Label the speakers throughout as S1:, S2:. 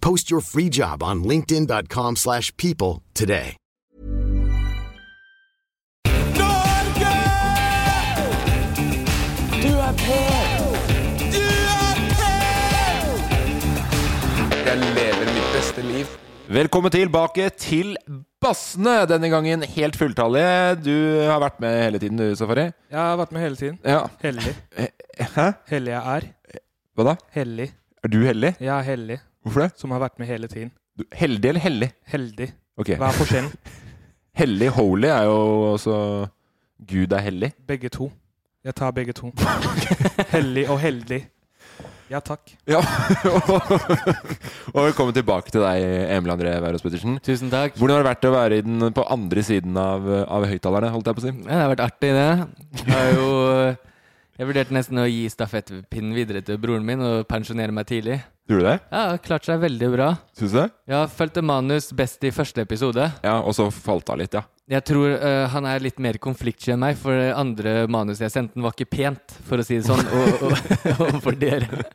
S1: Post your free job on linkedin.com/people slash people today.
S2: Norge! Du er på! Du er på!
S3: Jeg lever mitt beste liv.
S4: Velkommen tilbake til Bassene, denne gangen helt fulltallige. Du har vært med hele tiden, du, Safari.
S5: Jeg har vært med hele tiden.
S4: Ja.
S5: Hellig.
S4: Hæ?
S5: Hellig jeg er.
S4: Hva da?
S5: Hellig.
S4: Er du heldig?
S5: Jeg er hellig,
S4: Hvorfor det?
S5: som har vært med hele tiden.
S4: Du, heldig eller hellig?
S5: Heldig.
S4: Ok.
S5: Hva er forskjellen?
S4: Hellig, holy er jo også Gud er hellig.
S5: Begge to. Jeg tar begge to. Hellig og heldig. Ja takk.
S4: Ja. og velkommen tilbake til deg, Emil André Wærås Pettersen.
S6: Tusen takk.
S4: Hvordan har det vært å være i den, på andre siden av, av høyttalerne, holdt jeg på å si?
S6: Ja, det har vært artig, det. Jeg har jo eh, Jeg vurderte nesten å gi stafettpinnen videre til broren min og pensjonere meg tidlig.
S4: Tror du det?
S6: Ja, har klart seg veldig bra.
S4: Syns du det?
S6: Jeg fulgte manus best i første episode.
S4: Ja, og så falt av litt, ja.
S6: Jeg tror eh, han er litt mer konfliktsky enn meg, for det andre manuset jeg sendte, den var ikke pent, for å si det sånn, og- og- overfor dere.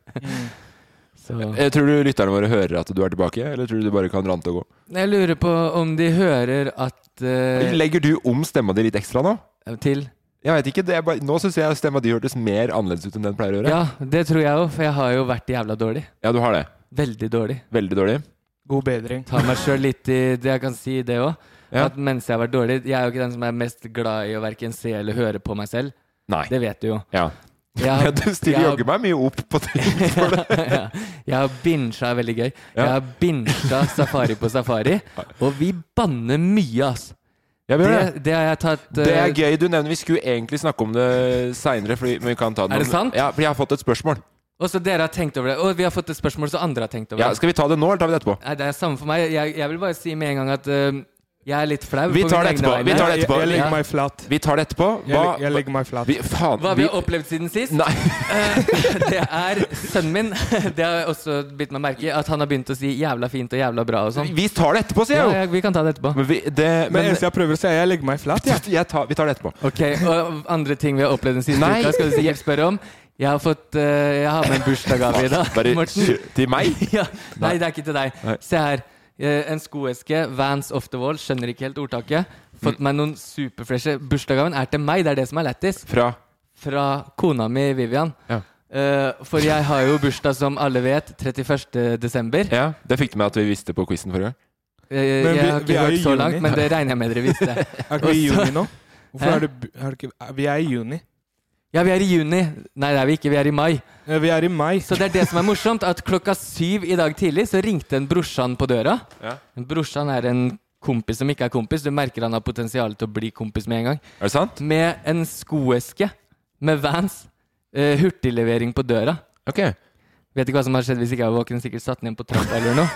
S6: Så
S4: Eh, Tror du lytterne våre hører at du er tilbake, eller tror du du bare kan rante og gå?
S6: Jeg lurer på om de hører at eh,
S4: Legger du om stemma di litt ekstra nå?
S6: Til
S4: Jeg vet ikke, det er bare, Nå syns jeg stemma di hørtes mer annerledes ut enn den pleier å gjøre.
S6: Ja, det tror jeg òg, for jeg har jo vært jævla dårlig.
S4: du har det.
S6: Veldig dårlig.
S4: Veldig dårlig.
S5: God bedring.
S6: ta meg sjøl litt i det jeg kan si, det òg.
S4: Ja.
S6: At mens jeg har vært dårlig Jeg er jo ikke den som er mest glad i å verken se eller høre på meg selv.
S4: Nei.
S6: Det vet du jo.
S4: Ja.
S6: Jeg
S4: ja,
S6: har,
S4: du stiller jaggu meg mye opp på ting.
S6: ja, jeg har binsja veldig gøy. Jeg har binsja Safari på Safari. Og vi banner mye, ass.
S4: Ja, vi
S6: Det,
S4: gjør det.
S6: det har jeg tatt
S4: Det
S6: eh,
S4: er gøy du nevner. Vi skulle egentlig snakke om det seinere. Men vi kan ta det
S6: Er det
S4: nå.
S6: sant?
S4: Ja, for jeg har fått et spørsmål.
S6: Og så dere har tenkt over det. Og vi har fått et spørsmål som andre har tenkt over.
S4: Ja, skal vi ta det nå, eller tar vi det etterpå?
S6: Nei, det er samme for meg. Jeg, jeg vil bare si med en gang at eh, jeg er litt flau.
S4: Vi
S6: på
S4: tar
S6: mine egne
S4: det etterpå. Vi
S6: vegne.
S4: tar det
S5: Jeg,
S4: etterpå.
S5: jeg
S6: Ja.
S5: legger meg flat.
S4: Vi tar det etterpå.
S5: Jeg, leg- jeg legger meg flat.
S4: vi, faen,
S6: Hva vi har opplevd siden sist?
S4: Nei.
S6: Eh, det er sønnen min. Det har jeg også bitt meg merke i. At han har begynt å si 'jævla fint' og 'jævla bra' og sånn.
S4: Vi tar det etterpå, sier
S6: Ja,
S4: jeg jo!
S6: ja, vi kan ta det etterpå.
S4: Men vi, det,
S5: Men
S4: men,
S5: det eneste jeg prøver å si, er jeg legger meg flat. Ja.
S4: jeg tar, vi tar det etterpå.
S6: Ok, Og andre ting vi har opplevd den siste
S4: Nei.
S6: uka, skal du sikkert spørre om. Jeg har fått eh, Jeg har med en bursdagsgave i dag,
S4: Bare
S6: Morten.
S4: til meg?
S6: Ja. Nei, det er ikke til deg.
S4: Nei.
S6: Se her. Eh, En skoeske. Vans off the wall. Skjønner ikke helt ordtaket. Fått
S4: Mm.
S6: meg noen superfreshe. Bursdagsgaven er til meg, det er det som er lættis.
S4: Fra
S6: fra kona mi Vivian.
S4: Ja.
S6: Eh, for jeg har jo bursdag, som alle vet, 31. desember.
S4: Ja, det fikk du med at vi visste på quizen forrige gang.
S6: Eh, jeg
S5: Men vi-
S6: har
S5: vi
S6: ikke
S5: er
S6: hørt
S5: i
S6: så
S5: juni.
S6: langt, men det regner jeg med dere visste.
S5: Er ikke vi i
S6: Og så-
S5: juni nå? Hvorfor
S6: Hæ?
S5: er det, bu- er det ikke, er- Vi er i juni.
S6: Ja, vi er i juni. Nei, det er vi ikke. Vi er i mai.
S5: Eh, Vi er i mai.
S6: Så det er det som er morsomt, at klokka syv i dag tidlig så ringte en brorsan på døra.
S4: Ja.
S6: En brorsan er en kompis som ikke er kompis. Du merker han har potensial til å bli kompis med en gang.
S4: Er det sant?
S6: Med en skoeske med Vans. eh, hurtiglevering på døra.
S4: Ok.
S6: Vet ikke hva som hadde skjedd hvis ikke jeg var våken. Sikkert satt ned på trappa eller noe.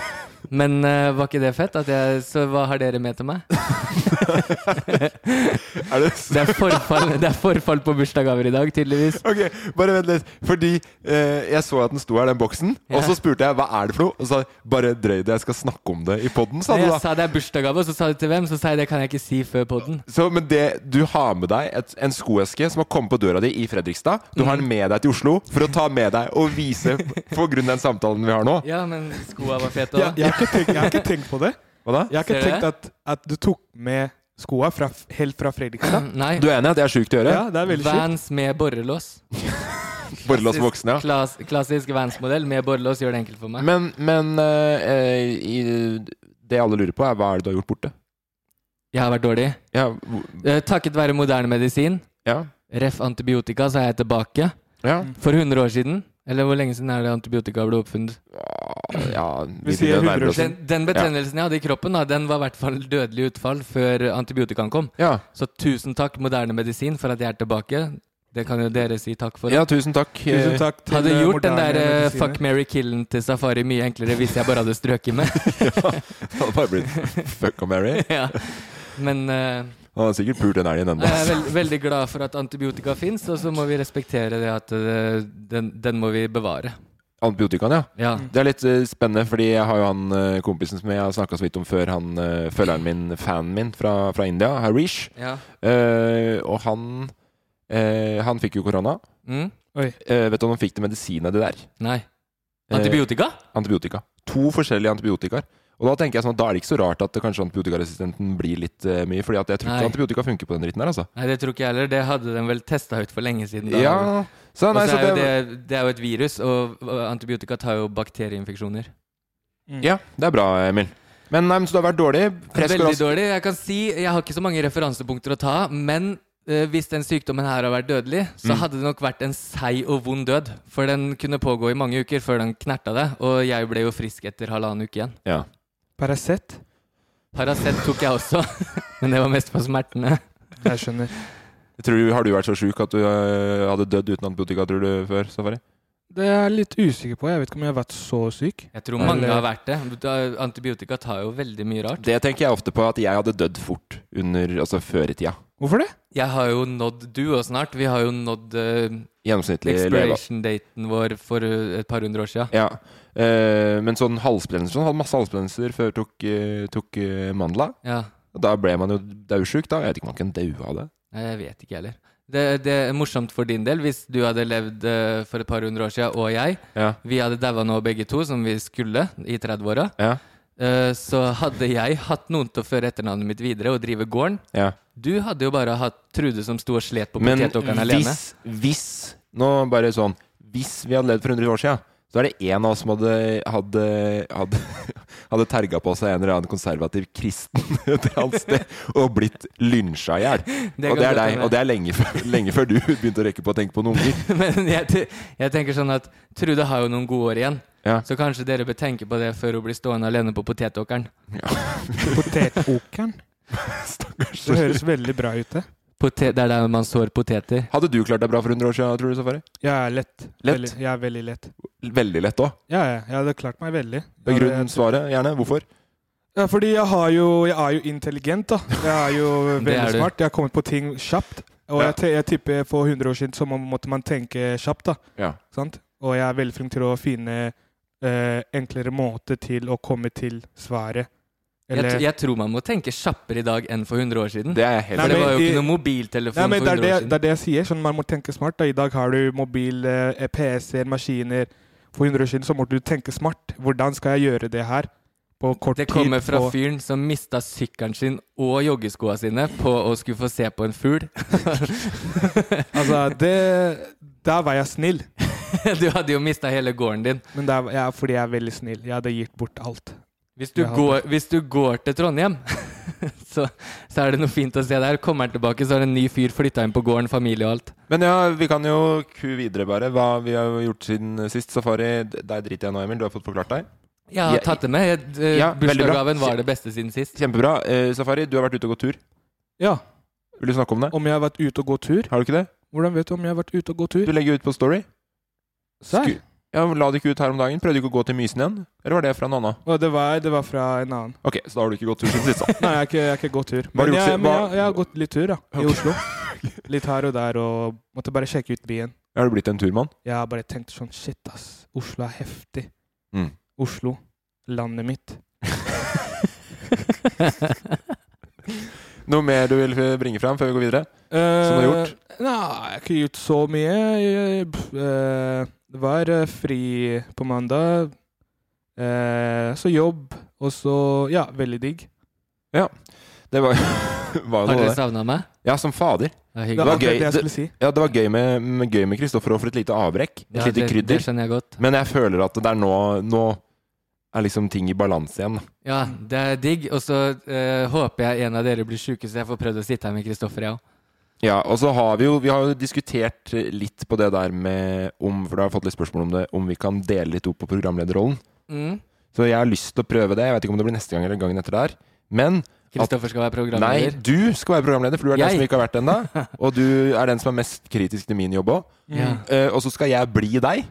S6: Men eh, var ikke det fett? At jeg, så hva har dere med til meg?
S4: det,
S6: er forfall, det er forfall på bursdagsgaver i dag, tydeligvis.
S4: Ok, bare vent litt. Fordi eh, jeg så at den sto her, den boksen.
S6: Ja.
S4: Og så spurte jeg hva er det for noe. Og så sa jeg, bare drøy det, jeg skal snakke om det i poden, sa
S6: Nei,
S4: du
S6: jeg
S4: da.
S6: sa det er bursdagsgave, og så sa du til hvem? Så sa jeg det kan jeg ikke si før podden.
S4: Så, men det, du har med deg et, en skoeske som har kommet på døra di i Fredrikstad. Du har den med deg til Oslo for å ta med deg og vise på grunn av den samtalen vi har nå.
S6: Ja, men skoa var fete
S5: Jeg,
S6: òg.
S5: jeg, har ikke tenkt, jeg har ikke tenkt på det.
S4: Hva da?
S5: Jeg har ikke
S6: Ser du
S5: tenkt at, at du tok med skoa fra, f- helt fra Fredrikstad.
S6: Nei.
S4: Du er enig i at det er sjukt å gjøre?
S5: Ja, det er veldig sjukt.
S6: Vans med borrelås.
S4: Borrelås for voksne, ja.
S6: Klass, klassisk Vans-modell med borrelås gjør det enkelt for meg.
S4: Men, men eh, eh, i, det alle lurer på, er hva er det du har gjort borte?
S6: Jeg har vært dårlig.
S4: Ja, hvor-
S6: Eh, Takket være moderne medisin,
S4: ja,
S6: ref antibiotika, så er jeg tilbake.
S4: ja.
S6: For 100 år siden, eller hvor lenge siden er det antibiotika ble oppfunnet?
S4: ja
S5: Vi sier
S4: nærmer oss.
S5: 100%.
S6: Den, den betennelsen jeg hadde i kroppen, da, den var i hvert fall dødelig utfall før antibiotikaen kom.
S4: Ja.
S6: Så tusen takk, moderne medisin, for at jeg er tilbake. Det kan jo dere si takk for.
S4: ja, tusen takk.
S5: Tusen takk til
S6: Hadde
S5: eh,
S6: gjort den
S5: moderne
S6: der eh,
S5: medisiner.
S6: fuck, marry, killen til Safari mye enklere hvis jeg bare hadde strøket med.
S4: Det hadde bare blitt fuck og marry.
S6: ja. Men eh,
S4: Han har sikkert pult den elgen ennå.
S6: jeg er veld, veldig glad for at antibiotika fins, og så må vi respektere det at eh, den, den må vi bevare.
S4: Antibiotikaen, ja.
S6: Ja.
S4: Det er litt eh, spennende, fordi jeg har jo han eh, kompisen som jeg har snakka så vidt om før, han eh, følgeren min, fanen min fra, fra India, Harish.
S6: ja.
S4: Eh, og han eh, Han fikk jo korona.
S6: Mm?
S4: Eh, vet du om han fikk det medisinet, det der?
S6: Nei.
S4: Eh,
S6: Antibiotika?
S4: antibiotika. To forskjellige antibiotikaer. Og Da tenker jeg sånn at da er det ikke så rart at det kanskje antibiotikaresistenten blir litt eh, mye. Fordi at jeg tror
S6: Nei.
S4: ikke antibiotika funker på den dritten her, altså.
S6: Nei, det tror ikke jeg heller. Det hadde den vel testa ut for lenge siden. da.
S4: Ja, så,
S6: Og
S4: nei,
S6: så
S4: så
S6: er jo
S4: det,
S6: det, det er jo et virus, og og antibiotika tar jo bakterieinfeksjoner.
S4: ja, det er bra, Emil. Men, nei, men så du har vært dårlig. Fresk og
S6: Veldig
S4: rask.
S6: dårlig. Jeg kan si, jeg har ikke så mange referansepunkter å ta, men eh, hvis den sykdommen her har vært dødelig, så hadde det nok vært en seig og vond død. For den kunne pågå i mange uker før den knerta det, og jeg ble jo frisk etter halvannen uke igjen.
S4: Ja.
S5: Paracet?
S6: Paracet tok jeg også, men det var mest for smertene.
S5: Jeg skjønner.
S4: Jeg Tror du, har du vært så sjuk at du eh, hadde dødd uten antibiotika, tror du, før safari?
S5: Det er jeg litt usikker på. Jeg vet ikke om jeg har vært så syk.
S6: Jeg tror mange har vært det. Da- Antibiotika tar jo veldig mye rart.
S4: Det tenker jeg ofte på, at jeg hadde dødd fort under, altså før i tida.
S5: Hvorfor det?
S6: Jeg har jo nådd du og snart. Vi har jo nådd eh,
S4: Gjennomsnittlig leve.
S6: expiration-daten vår for eh, et par hundre år sia.
S4: Ja. Eh, men sånn halsbetennelser sånn, Hadde masse halsbetennelser før tok, eh, tok eh, mandla.
S6: Ja.
S4: Og Da ble man jo daudsjuk, da. Jeg vet ikke om man kan daue av det.
S6: Nei, jeg vet ikke heller. Det, det er morsomt for din del hvis du hadde levd eh, for et par hundre år siden, og jeg.
S4: Ja.
S6: Vi hadde daua nå begge to, som vi skulle, i 30-åra.
S4: Ja.
S6: Eh, så hadde jeg hatt noen til å føre etternavnet mitt videre og drive gården.
S4: ja.
S6: Du hadde jo bare hatt Trude som sto og slet på
S4: Men
S6: potetåkeren alene.
S4: hvis, hvis Nå bare sånn Hvis vi hadde levd for 100 år siden, så er det én av oss som hadde Hadde, hadde, hadde terga på seg en eller annen konservativ kristen et eller annet sted og blitt lynsja i hjel.
S6: Det
S4: Og
S6: kan
S4: det er
S6: godt
S4: deg.
S6: hende.
S4: Og det er lenge før, lenge før du begynte å rekke på å tenke på noen unger.
S6: Men jeg, te- jeg tenker sånn at Trude har jo noen gode år igjen.
S4: Ja.
S6: Så kanskje dere bør tenke på det før hun blir stående alene på potetåkeren.
S5: Potetåkeren?
S4: Stakkars.
S5: Det høres veldig bra ut, det.
S6: Potet, det er der man sår poteter.
S4: Hadde du klart deg bra for 100 år siden, tror du, Safari?
S5: Jeg er lett.
S4: Lett?
S5: Veldig, jeg er veldig lett.
S4: Veldig lett òg.
S5: Ja, ja, jeg hadde klart meg veldig. Jeg hadde-
S4: Begrunn svaret gjerne. Hvorfor?
S5: Ja, fordi jeg, har jo, jeg er jo intelligent, da. Jeg er jo
S6: Det er
S5: veldig
S6: du.
S5: smart. Jeg har kommet på ting kjapt. Og jeg, te- jeg tipper for 100 år siden så må- måtte man tenke kjapt, da.
S4: Ja.
S5: Sant? Og jeg er veldig flink til å finne eh, enklere måter til å komme til svaret.
S6: Jeg,
S5: Eller
S6: t- jeg tror man må tenke kjappere i dag enn for 100 år siden.
S4: Det er jeg helt
S6: For
S5: Hm. Nei,
S6: det var jo
S5: men i-
S6: ikke noe mobiltelefon
S5: Nei, men det
S6: for
S5: er det,
S6: 100 år siden.
S5: det er det jeg sier. Sånn, man må tenke smart. Da. I dag har du mobil, eh, PC-er, maskiner. For 100 år siden så måtte du tenke smart. Hvordan skal jeg gjøre det her på kort
S6: Det
S5: tid?
S6: kommer fra
S5: på-
S6: fyren som mista sykkelen sin og joggeskoa sine på å skulle få se på en fugl.
S5: Altså, det, der var jeg snill.
S6: Du hadde jo mista hele gården din.
S5: Men det er ja, fordi jeg er veldig snill. Jeg hadde gitt bort alt.
S6: Hvis du,
S5: Jeg hadde-
S6: går, hvis du går til Trondheim, så, så er det noe fint å se der. Kommer han tilbake, så har en ny fyr flytta inn på gården, familie og alt.
S4: Men ja, vi kan jo ku videre bare hva vi har gjort siden sist safari. D- Deg driter jeg nå, Emil. Du har fått forklart deg.
S6: Jeg har
S4: Ja,
S6: tatt det med. Jeg- eh,
S4: ja, veldig bra.
S6: Bursdagsgaven var det beste siden sist.
S4: Kjempebra. Eh, safari, du har vært ute og gått tur.
S5: Ja,
S4: Vil du snakke om det?
S5: om jeg har vært ute og gått tur?
S4: Har du ikke det?
S5: Hvordan vet du om jeg har vært ute og gått tur?
S4: Du legger ut på Story.
S5: Serr?
S4: Sku- Ja, La du ikke ut her om dagen? Prøvde du ikke å gå til Mysen igjen? Eller var det fra en annen?
S5: Og det var, det var fra en annen.
S4: Ok, så da har du ikke gått tur siden sist, da.
S5: Nei, jeg har ikke, jeg har ikke gått tur.
S4: Hva har
S5: Men,
S4: du gjort
S5: jeg,
S4: siden-
S5: men
S4: hva-
S5: jeg, jeg har gått litt tur, da. I
S4: Ok.
S5: Oslo. Litt her og der, og måtte bare sjekke ut byen.
S4: Er du blitt en turmann?
S5: Jeg har bare tenkt sånn Shit, ass. Oslo er heftig.
S4: Mm.
S5: Oslo. Landet mitt.
S4: Noe mer du vil bringe fram før vi går videre? Som du har gjort?
S5: Eh, Nei, jeg har ikke gjort så mye. Jeg, eh, det var eh, fri på mandag. Eh, så jobb, og så Ja, veldig digg.
S4: Ja. Det var, var
S6: Har
S4: jo noe,
S6: dere
S4: det.
S6: savna meg?
S4: Ja, som
S6: Det er
S4: fader.
S5: Det
S6: hyggelig.
S5: var
S4: var gøy.
S5: akkurat det jeg
S4: Det-
S5: skulle si.
S4: Ja, det var gøy med, med- gøy med Kristoffer og for et lite avbrekk. Et
S6: Ja,
S4: lite
S6: det, det
S4: krydder.
S6: skjønner jeg godt.
S4: Men jeg føler at det er nå Nå er liksom ting i balanse igjen. da.
S6: Ja, det er digg. Og så eh, håper jeg en av dere blir sjuke, så jeg får prøvd å sitte her med Kristoffer, jeg òg.
S4: Ja, og så har vi jo Vi har jo diskutert litt på det der med om For du har jeg fått litt spørsmål om det Om vi kan dele litt opp på programlederrollen.
S6: Mm.
S4: Så jeg har lyst til å prøve det. Jeg vet ikke om det blir neste gang eller gangen etter der. Men
S6: Kristoffer skal være
S4: nei,
S6: programleder.
S4: du skal være programleder, for du er
S6: Jeg?
S4: den som ikke har vært det ennå. Og du er den som er mest kritisk til min jobb òg.
S6: Ja.
S4: og så skal jeg bli deg.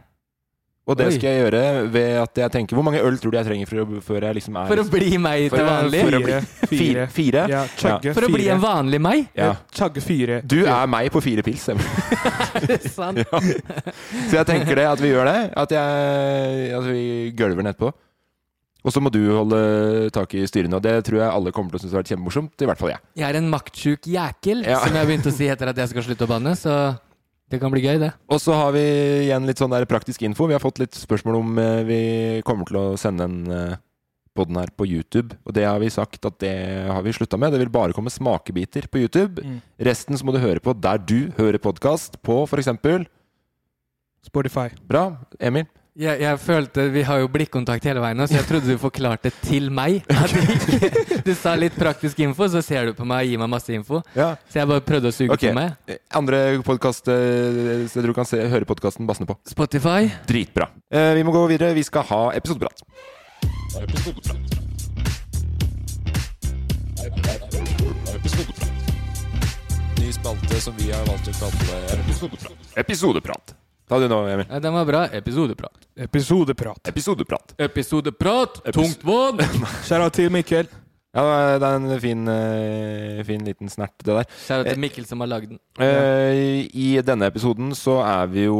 S4: Og det
S6: Oi.
S4: skal jeg gjøre ved at jeg tenker Hvor mange øl tror du jeg trenger for å, før jeg liksom er
S6: For å bli meg
S4: For å-
S6: til vanlig.
S4: for å bli-
S5: Fire.
S4: fire?
S5: fire.
S4: fire?
S5: Ja, chugge
S6: For å bli
S5: fire.
S6: en vanlig meg?
S4: Ja.
S5: Chugge fire.
S4: Du er meg på fire pils. Emil.
S6: Er det sant?
S4: Ja. Så jeg tenker det, at vi gjør det. At, jeg, at vi gølver den etterpå. Og så må du holde tak i styrene, og det tror jeg alle kommer til å synes har vært kjempemorsomt. I hvert fall jeg.
S6: Jeg er en maktsjuk jækel,
S4: Ja.
S6: som jeg begynte å si etter at jeg skal slutte å banne. Så det kan bli gøy, det.
S4: Og så har vi igjen litt sånn der praktisk info. Vi har fått litt spørsmål om eh, vi kommer til å sende en eh, podden her på YouTube. Og det har vi sagt at det har vi slutta med. Det vil bare komme smakebiter på YouTube.
S5: Mm.
S4: Resten så må du høre på der du hører podkast, på f.eks.
S5: Spotify.
S4: Bra, Emil.
S6: Jeg, jeg følte, Vi har jo blikkontakt hele veien, nå, så jeg trodde du forklarte til meg. At du, ikke, du sa litt praktisk info, så ser du på meg og gir meg masse info.
S4: Ja.
S6: Så jeg bare prøvde å suge
S4: Ok.
S6: på meg.
S4: Eh, Andre podkast steder du kan se, høre podkasten Bassene på.
S6: Spotify.
S4: Dritbra. Eh, vi må gå videre. Vi skal ha episodeprat.
S3: Ny spalte som vi har valgt å kalle
S4: Episodeprat. Ta du nå, Emil.
S6: Ja, den var bra. Episodeprat.
S5: Episodeprat.
S4: Episodeprat.
S6: Episodeprat,
S4: Epis-
S6: tungtvån!
S5: Shout out til Mikkel.
S4: Ja, det er en fin, eh, fin liten snert, det der.
S6: Kjære til Mikkel som har lagd den.
S4: Eh, I denne episoden så er vi jo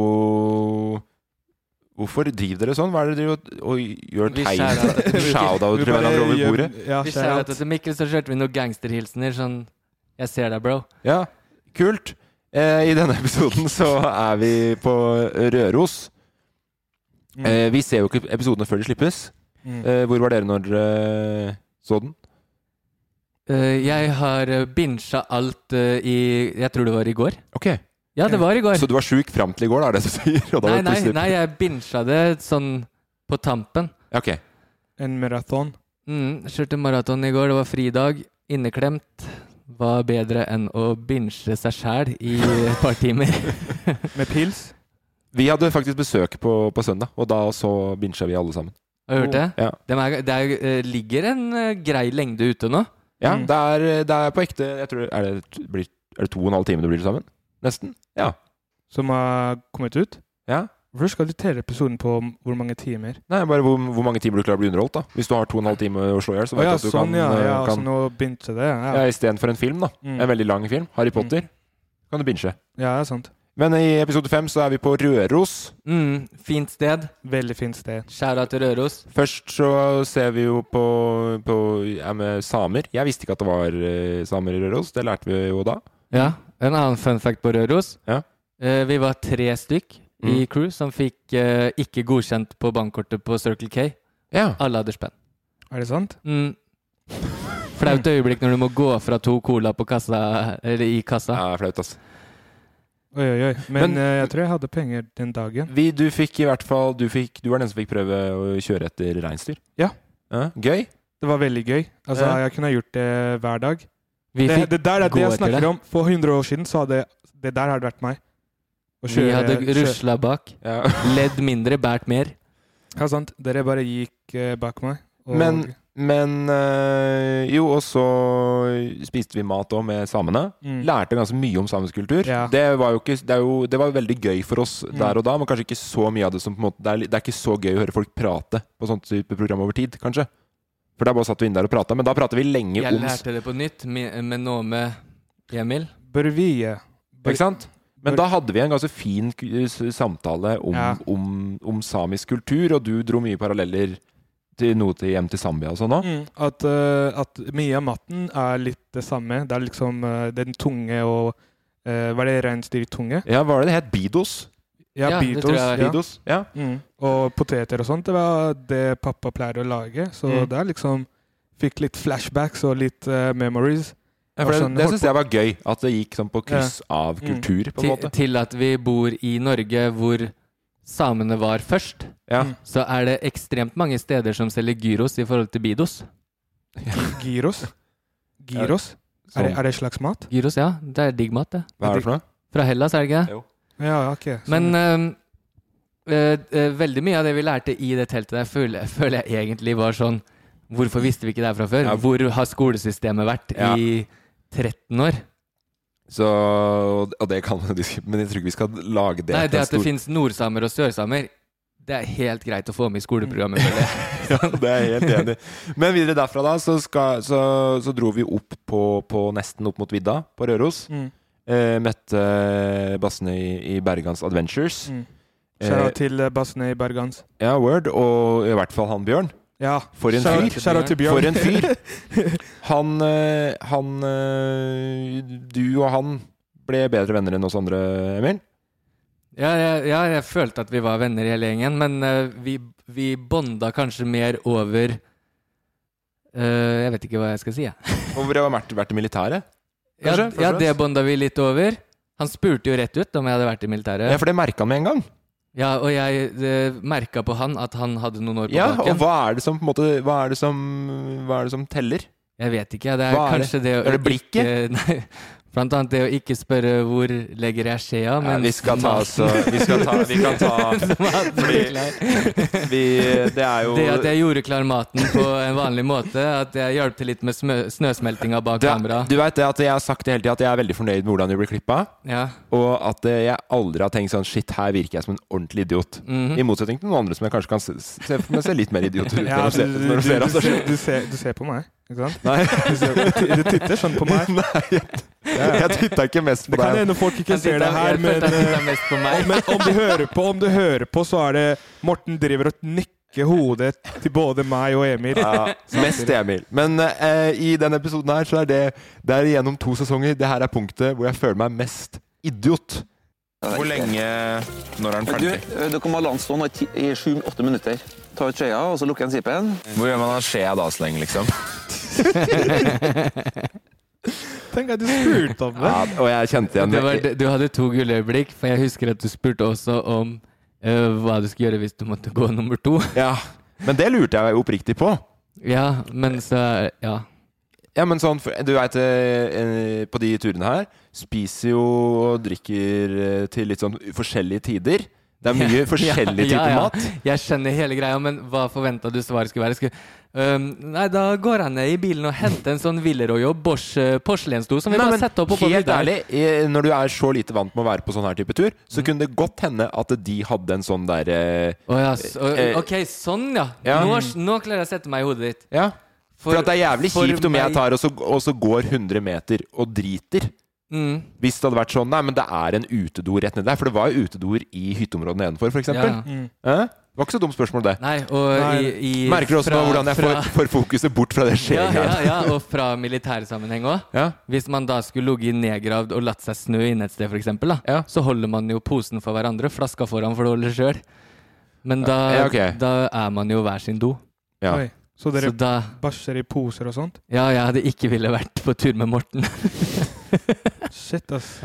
S4: Hvorfor driver dere sånn? Hva er det dere driver og- og gjør
S6: Vi
S4: tegn
S6: skjærer av-
S4: Vi Shout-out til hverandre over
S5: gjør-
S4: bordet?
S5: eh, Ja,
S6: Vi
S5: shout
S6: kjære
S5: out.
S6: til Mikkel, så kjørte vi noen gangsterhilsener. Sånn Jeg ser deg, bro.
S4: Ja, kult. Eh, I denne episoden så er vi på Røros.
S5: Mm.
S4: Eh, vi ser jo ikke episodene før de slippes.
S5: Mm.
S4: Eh, hvor var dere når dere så den?
S6: Eh, jeg har eh, bincha alt eh, i Jeg tror det var i går.
S4: Ok,
S6: Ja, det var i går.
S4: Så du var sjuk fram til i går, da, er det du sier? Og da
S6: Nei,
S4: var det
S6: nei,
S4: plutselig-
S6: nei, jeg bincha det sånn på tampen.
S4: Ok.
S5: En maraton.
S6: Mm, kjørte maraton i går, det var fridag. Inneklemt. Var bedre enn å binche seg sjæl i et par timer.
S5: Med pils.
S4: Vi hadde faktisk besøk på, på søndag, og da så bincha vi alle sammen.
S6: Har du hørt det?
S4: Ja,
S6: Det er, det er, eh, ligger en eh, grei lengde ute nå.
S4: ja
S5: Mm.
S4: det, er, det er på ekte jeg tror, er, det, t- blir, er det to og en halv time du blir sammen? Nesten? Ja.
S5: Som har kommet ut?
S4: Ja.
S5: Hvorfor skal du telle episoden på m- hvor mange timer?
S4: Nei, bare hvor, hvor mange timer du klarer å bli underholdt, da. Hvis du har to og en halv time å slå i hjel,
S5: Å
S4: så vet du
S5: ja,
S4: at du
S5: sånn,
S4: kan,
S5: ja.
S4: eh,
S5: ja altså,
S4: kan
S5: nå begynte det. Ja,
S4: Ja,
S5: ja.
S4: istedenfor en film, da.
S5: Mm.
S4: En veldig lang film. Harry Potter kan du binche.
S5: ja det er sant.
S4: Men i episode fem så er vi på Røros.
S6: Mm, fint sted.
S5: Veldig fint sted.
S6: Skjæra til Røros.
S4: Først så ser vi jo på, på ja, med samer. Jeg visste ikke at det var eh, samer i Røros. Det lærte vi jo da.
S6: Ja, en annen fun fact på Røros.
S4: Ja.
S6: Eh, vi var tre stykk i
S4: Mm.
S6: crew som fikk eh, ikke godkjent på bankkortet på Circle K.
S4: Ja.
S6: Alle hadde spenn.
S5: Er det sant?
S6: Mm. Flaut øyeblikk når du må gå fra to cola på kassa, eller i kassa.
S4: Det er flaut, altså.
S5: Oi, oi, oi. Men,
S4: Men-
S5: eh, jeg tror jeg hadde penger den dagen.
S4: Vi, du fikk i hvert fall Du, fikk, du var den som fikk prøve å kjøre etter reinsdyr.
S5: Ja.
S4: Gøy.
S5: Det var veldig gøy. Altså,
S4: Ja.
S5: Jeg kunne ha gjort det hver dag.
S6: Vi,
S5: Det,
S6: fikk,
S5: det der er
S6: gå
S5: det jeg
S6: etter
S5: snakker
S6: det.
S5: om. For 100 år siden så hadde det der hadde vært meg. Å
S6: vi
S5: kjøre-
S6: hadde
S5: kjøre-
S6: rusla bak.
S4: Ja.
S6: Ledd mindre, båret mer.
S5: Ja, sant. Dere bare gikk eh, bak meg. Og
S4: Men- Men eh, jo, og så spiste vi mat òg med samene.
S5: Mm.
S4: Lærte ganske mye om samisk kultur.
S5: Ja. Mm.
S4: Det, var jo ikke, det, er jo, det var veldig gøy for oss der og da, men kanskje ikke så mye av det som på en måte, det, er, li- det er ikke så gøy å høre folk prate på sånt type program over tid, kanskje. For der bare satt vi inne der og prata, men da prater vi lenge
S6: Jeg
S4: om s-
S6: lærte det på nytt, med, med noe med Emil.
S5: Burvie. Bur-
S4: Ikke sant? Men da hadde vi en ganske fin k- s- samtale om,
S5: Ja.
S4: om, om samisk kultur, og du dro mye paralleller til noe til hjem til Zambia og sånn òg.
S5: Mm, at, eh, at mye av maten er litt det samme. Det er liksom eh, den tunge og eh, Hva er det reinsdyrtunge?
S4: Ja, hva var det det het? Bidos?
S5: Ja,
S6: Ja, det
S5: Beatles.
S6: tror jeg.
S5: ja.
S4: Bidos? Ja.
S5: Mm. Og poteter og sånt. Det var det pappa pleier å lage. Så
S4: Mm.
S5: det er liksom Fikk litt flashbacks og litt eh, memories.
S4: Ja, for
S5: Og
S4: det
S5: sånn
S4: det
S5: holdt
S4: syns jeg var gøy. At det gikk sånn på kryss av
S5: Mm.
S4: kultur, på en
S6: Til,
S4: måte.
S6: til at vi bor i Norge hvor samene var først,
S4: Ja.
S5: Mm.
S6: så er det ekstremt mange steder som selger gyros i forhold til bidos.
S5: Gyros. Gyros?
S4: Sånn.
S5: Er, det, er det slags mat?
S6: Gyros, ja. Det er digg mat, det.
S4: Hva er det for noe?
S6: Fra Hellas, er det ikke det?
S5: Ja, ok. Så-
S6: Men eh, eh, eh, veldig mye av det vi lærte i det teltet der, føler, føler jeg egentlig var sånn Hvorfor visste vi ikke det her fra før?
S4: Ja.
S6: Hvor har skolesystemet vært
S4: Ja.
S6: i 13 år?
S4: Så, og det kan man diskutere, men jeg tror ikke vi skal lage det
S6: Nei,
S4: til
S6: det
S4: en
S6: at det
S4: stor-
S6: finnes nordsamer og sørsamer, det er helt greit å få med i skoleprogrammet. føler jeg.
S4: Ja, det er jeg helt enig i. Men videre derfra, da, så, skal, så, så dro vi opp på, på nesten opp mot vidda på Røros.
S5: Mm.
S4: Eh, møtte eh, bassene i, i Bergans Adventures.
S5: Mm.
S4: Eh,
S5: Shout-out til eh, bassene i Bergans.
S4: ja, Word, og i hvert fall han Bjørn.
S5: Ja.
S4: For en
S5: shout-
S4: fyr.
S5: shout-out til Bjørn.
S4: For en fyr. Han, eh, han eh, Du og han ble bedre venner enn oss andre, Emil.
S6: Ja, jeg, ja, jeg følte at vi var venner i hele gjengen, men eh, vi, vi bonda kanskje mer over eh, Jeg vet ikke hva jeg skal si, jeg.
S4: Hvorfor har vært, vært i militæret?
S6: Ja,
S4: Kanskje, først og
S6: ja, det
S4: fremst.
S6: bonda vi litt over. Han spurte jo rett ut om jeg hadde vært i militæret.
S4: Ja, for det merka han med en gang.
S6: Ja, og jeg merka på han at han hadde noen år på
S4: Ja, og
S6: baken.
S4: hva er det som på en måte, hva er det som, hva er det som teller?
S6: Jeg vet ikke. Det er,
S4: Hva er det?
S6: kanskje det, å
S4: Er det blikket?
S6: Ikke, nei, blant annet det å ikke spørre hvor legger jeg skjea,
S4: Ja,
S6: men
S4: vi skal ta så Vi skal ta Vi kan ta fordi- vi, Det er jo
S6: Det at jeg gjorde klar maten på en vanlig måte, at jeg hjalp til litt med smø, snøsmeltinga bak
S4: Det-
S6: kamera.
S4: Du veit at jeg har sagt det hele tida at jeg er veldig fornøyd med hvordan vi blir klippa,
S6: Ja.
S4: og at eh, jeg aldri har tenkt sånn Shit, her virker jeg som en ordentlig idiot. I motsetning til noen andre som jeg kanskje kan se, se, men ser litt mer idiot ut
S5: Ja,
S4: når
S5: du,
S4: de ser,
S5: du,
S4: når de ser
S5: du,
S4: oss. da.
S5: ser- du, ser, du ser på meg, ikke sant?
S4: Nei,
S5: Du, ser, du titter sånn på meg.
S4: nei jeg, jeg titta ikke mest på
S5: Det kan
S4: deg.
S5: hende folk ikke
S6: Han
S5: ser det
S6: titter-
S5: her,
S6: jeg
S5: men,
S6: følte han
S5: eh,
S6: tittet mest på meg.
S5: men om du hører på, om du hører på, så er det Morten driver og nikker hodet til både meg og Emil.
S4: Ja, mest Emil. Men eh, i denne episoden her så er det Det er gjennom to sesonger. Det her er punktet hvor jeg føler meg mest idiot. Hvor lenge Når er den
S2: Eh, Du kan være landstående i sju-åtte minutter. Ta ut skjea, og så lukker en sipen.
S4: Hvor gjør man av skjea da så lenge, liksom?
S5: Tenk at du spurte om det.
S4: Ja, og jeg kjente igjen
S6: Det var, det- du hadde to gulløyeblikk, for jeg husker at du spurte også om eh, hva du skulle gjøre hvis du måtte gå nummer to.
S4: Ja. Men det lurte jeg oppriktig på.
S6: Ja, men så Ja.
S4: Ja, men sånn, for- du vet, eh, eh, På de turene her spiser jo og drikker eh, til litt sånn forskjellige tider. Det er mye forskjellig type mat.
S6: Jeg skjønner hele greia, men hva forventa du svaret skulle være? Skulle, øhm, nei, da går jeg ned i bilen og henter en sånn Villeroy og Bosch eh, porselensstol som vi
S4: Nei,
S6: bare
S4: men
S6: setter opp oppå
S4: helt
S6: vidda.
S4: ærlig, eh, når du er så lite vant med å være på sånn her type tur, så
S6: Mm.
S4: kunne det godt hende at de hadde en sånn der eh,
S6: Å ja, så,
S4: Eh,
S6: ok, sånn ja.
S4: ja.
S6: Nå, nå klarer jeg å sette meg i hodet ditt.
S4: Ja. For, at det er jævlig
S6: for
S4: kjipt om jeg
S6: meg-
S4: tar og så, og så går 100 meter og driter.
S6: Mm,
S4: Hvis det hadde vært sånn Nei, men det er en utedo rett nedi der. For det var jo utedoer i hytteområdet nedenfor, f.eks.
S6: ja.
S4: eksempel
S5: Mm.
S4: Eh? Det var ikke så dumt spørsmål, det.
S6: Nei, og
S5: Nei.
S6: i, i
S4: Merker du også nå hvordan jeg får, får fokuset bort fra det
S6: ja, ja,
S4: skjegget?
S6: ja, og fra militærsammenheng òg.
S4: Ja.
S6: Hvis man da skulle ligget nedgravd og latt seg snø inne et sted, for eksempel, da,
S4: Ja.
S6: så holder man jo posen for hverandre, flaska foran for å holde sjøl. Men da,
S4: Ja, ok.
S6: da er man jo hver sin do.
S4: Ja.
S5: Oi, så dere
S6: Så da
S5: bæsjer i poser og sånt?
S6: Ja, jeg hadde ikke ville vært på tur med Morten.
S5: Shit, ass.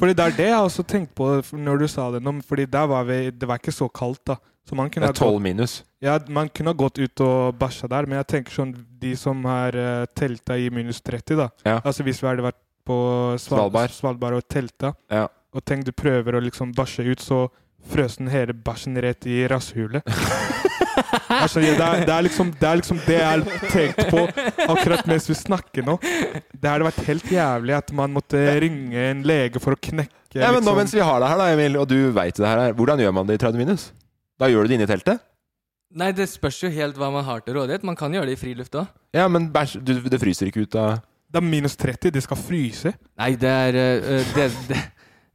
S5: Fordi det er det jeg også tenkte på når du sa det nå, fordi der var vi Det var ikke så kaldt, da. Så man
S4: Det
S5: kunne ha
S4: er 12 minus.
S5: Ja, man kunne ha gått ut og bæsja der, men jeg tenker sånn de som har eh, telta i minus 30, da.
S4: Ja.
S5: Altså hvis vi hadde vært på Sval
S4: Svalbard.
S5: Svalbard. og telta,
S4: Ja.
S5: og tenk du prøver å liksom bæsje ut, så frøs den hele bæsjen rett i rasshulet. Altså, ja, det, er, det, er liksom, det er liksom det jeg tenkte på akkurat mens vi snakker nå. Det hadde vært helt jævlig at man måtte ringe en lege for å knekke
S4: Ja, men nå
S5: liksom.
S4: mens vi har deg her, da, Emil, og du veit det her, hvordan gjør man det i 30 minus? Da gjør du det inne i teltet?
S6: Nei, det spørs jo helt hva man har til rådighet. Man kan gjøre det i friluft òg.
S4: Ja, men bæsj, du, det fryser ikke ut av
S5: Det er minus 30, de skal fryse.
S6: Nei, det er øh, øh, det, det,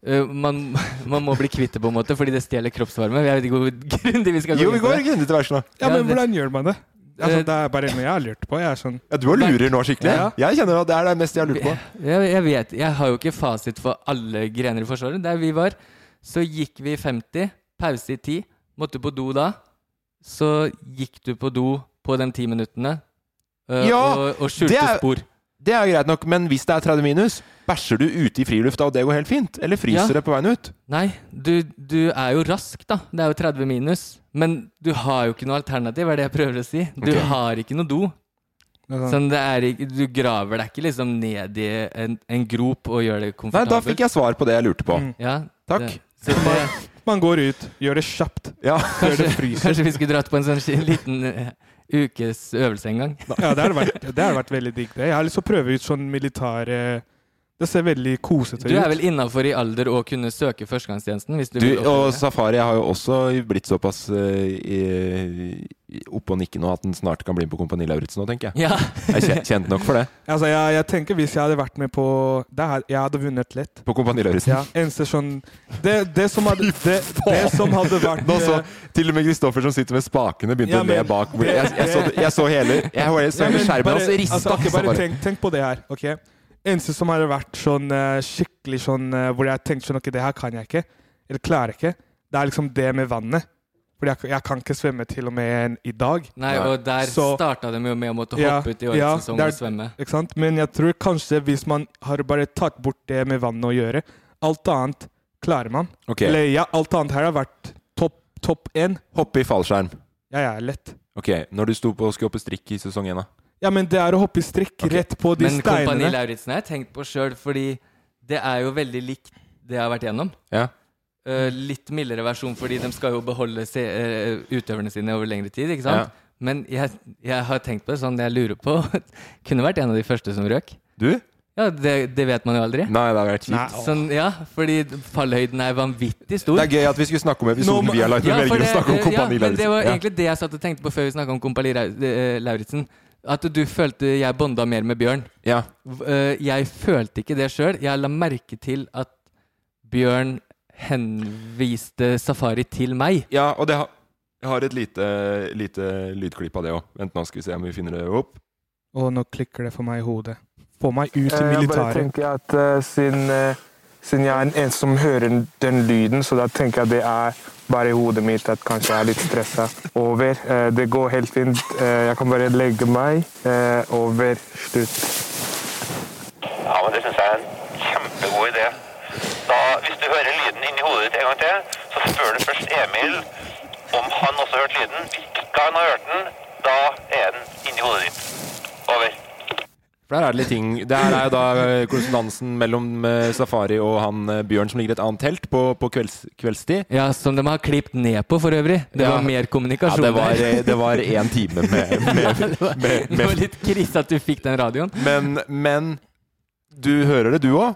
S6: øh, man, man må bli kvitt det, på en måte, fordi det stjeler kroppsvarme. Jeg vet ikke hvor grundig vi skal gå
S4: Jo, vi
S6: inn på
S4: går
S6: det.
S4: grundig til verks nå.
S5: Ja,
S6: Ja,
S5: men
S6: det- eh,
S5: hvordan gjør man det?
S4: Eh,
S5: Altså, det er bare noe jeg har lurt på. Jeg er sånn
S4: Ja, du har lurer nå skikkelig.
S5: Ja.
S4: Jeg kjenner at det er det meste jeg har lurt på.
S6: Jeg, jeg vet, jeg har jo ikke fasit for alle grener i Forsvaret. Der vi var, så gikk vi i 50, pause i 10, måtte på do da. Så gikk du på do på de 10 minuttene øh,
S4: Ja,
S6: og, og
S4: det
S6: skjulte
S4: er-
S6: spor.
S4: Det er jo greit nok, men hvis det er 30 minus, bæsjer du ute i frilufta, og det går helt fint? Eller fryser
S6: Ja.
S4: det på veien ut?
S6: Nei, du, du er jo rask, da. Det er jo 30 minus. Men du har jo ikke noe alternativ, er det jeg prøver å si. Du
S4: Ok.
S6: har ikke noe do.
S5: det er sånn,
S6: Sånn, det er, ikke- du graver deg ikke liksom ned i en, en grop og gjør det
S4: Nei,
S6: komfortabelt.
S4: da fikk jeg svar på det jeg lurte på.
S5: Mm.
S6: Ja,
S4: Takk.
S6: det- Så det,
S5: Man går ut, gjør det kjapt.
S4: Ja.
S5: Før det
S6: kanskje,
S5: fryser.
S6: kanskje vi skulle dratt på en sånn ski- liten eh, ukes øvelse en gang.
S5: Ja, det hadde vært, det hadde vært veldig digg. det. Jeg har lyst til å prøve ut sånn militær eh, Det ser veldig kosete ut.
S6: Du er vel innafor i alder å kunne søke førstegangstjenesten hvis du,
S4: Du,
S6: vil oppleve
S4: og
S6: det.
S4: Safari har jo også blitt såpass eh, uh, oppe og nikke nå at den snart kan bli med på Kompani Lauritzen nå, tenker jeg.
S6: Ja.
S4: Jeg er kjent, kjent nok for det.
S5: Altså, jeg, jeg tenker hvis jeg hadde vært med på det her, Jeg hadde vunnet lett.
S4: På Kompani Lauritzen.
S5: Ja, eneste sånn det, det, som hadde, det, det som hadde vært eh,
S4: Nå så til og med Kristoffer som sitter med spakene, begynte
S5: Ja, men-
S4: å le bak. hvor- Jeg, jeg, så, jeg så hele jeg så
S5: Ja,
S4: hele
S5: men
S4: skjermen hans
S5: bare-
S4: rista.
S5: altså, ok, bare
S4: Safari.
S5: tenk, tenk på det her. ok? Eneste som hadde vært sånn eh, skikkelig sånn eh, Hvor jeg tenkte sånn Ok, det her kan jeg ikke. Eller klarer jeg ikke. Det er liksom det med vannet. Fordi jeg, jeg kan ikke svømme til og med en i dag.
S6: Nei, og der
S5: Så-
S6: starta de jo med å måtte hoppe
S5: Ja,
S6: ut i årets
S5: ja,
S6: sesong
S5: det
S6: og
S5: er-
S6: svømme.
S5: Ikke sant? Men jeg tror kanskje hvis man har bare tatt bort det med vannet å gjøre Alt annet klarer man.
S4: Ok,
S5: Eller ja, alt annet her har vært topp topp én.
S4: Hoppe i fallskjerm.
S5: Ja, ja, lett.
S4: Ok, Når du sto på og skulle hoppe strikk i sesong én, da?
S5: Ja, men det er å hoppe i strikk
S4: Ok.
S5: rett på de
S6: Men Kompani
S5: steinene.
S6: Lauritzen har jeg tenkt på sjøl, fordi det er jo veldig likt det jeg har vært gjennom.
S4: Ja.
S6: Eh, litt mildere versjon, fordi de skal jo beholde se eh, utøverne sine over lengre tid. ikke sant? Men jeg, jeg har tenkt på det sånn, jeg lurer på Kunne vært en av de første som røk.
S4: Du?
S6: Ja, det, det vet man jo aldri.
S4: Nei, det har vært kjipt.
S6: Sånn, ja, fordi fallhøyden er vanvittig stor.
S4: Det er gøy at vi skulle snakke om episoden
S5: Nå må-
S4: vi har lagd, men
S6: Ja, for
S4: velger å
S6: det-
S4: snakke om
S6: eh,
S4: Kompani
S6: ja, men Det var
S4: Lauritzen.
S6: egentlig det jeg satt og tenkte på før vi snakka om Kompani Rau- eh, Lauritzen. At du følte jeg bonda mer med Bjørn.
S4: Ja.
S6: V- eh, Jeg følte ikke det sjøl. Jeg la merke til at Bjørn henviste Safari til meg.
S4: ja, og det har jeg har et lite, lite lydklipp av det òg. Vent, nå skal vi se om vi finner det opp.
S5: Og nå klikker det for meg i hodet. Få meg ut i
S7: Eh, Jeg bare
S5: militæret.
S7: tenker at eh, siden, eh, siden jeg er den eneste som hører den- den lyden, så da tenker jeg det er bare i hodet mitt at kanskje jeg er litt stressa. Over. Eh, Det går helt fint. Eh, Jeg kan bare legge meg. Eh, Over. Slutt.
S8: Ja, men det syns jeg er en kjempegod idé. Da, hvis du hører lyden inni hodet ditt en gang til, så spør du først Emil om han også hørte lyden. Hvis ikke han har hørt den, da er den inni hodet ditt. Over.
S4: For der er det litt ting Det her er jo da eh, konsonansen mellom eh, Safari og han eh, Bjørn som ligger i et annet telt på, på kvelds, kveldstid.
S6: Ja, Som de har klippet ned på, for øvrig. Det
S4: Ja.
S6: var mer
S4: Ja,
S6: kommunikasjon
S4: det var,
S6: der.
S4: eh, det var én time med, med, med,
S6: Det var
S4: med
S6: litt krise at du fikk den radioen.
S4: Men, men du hører det, du òg.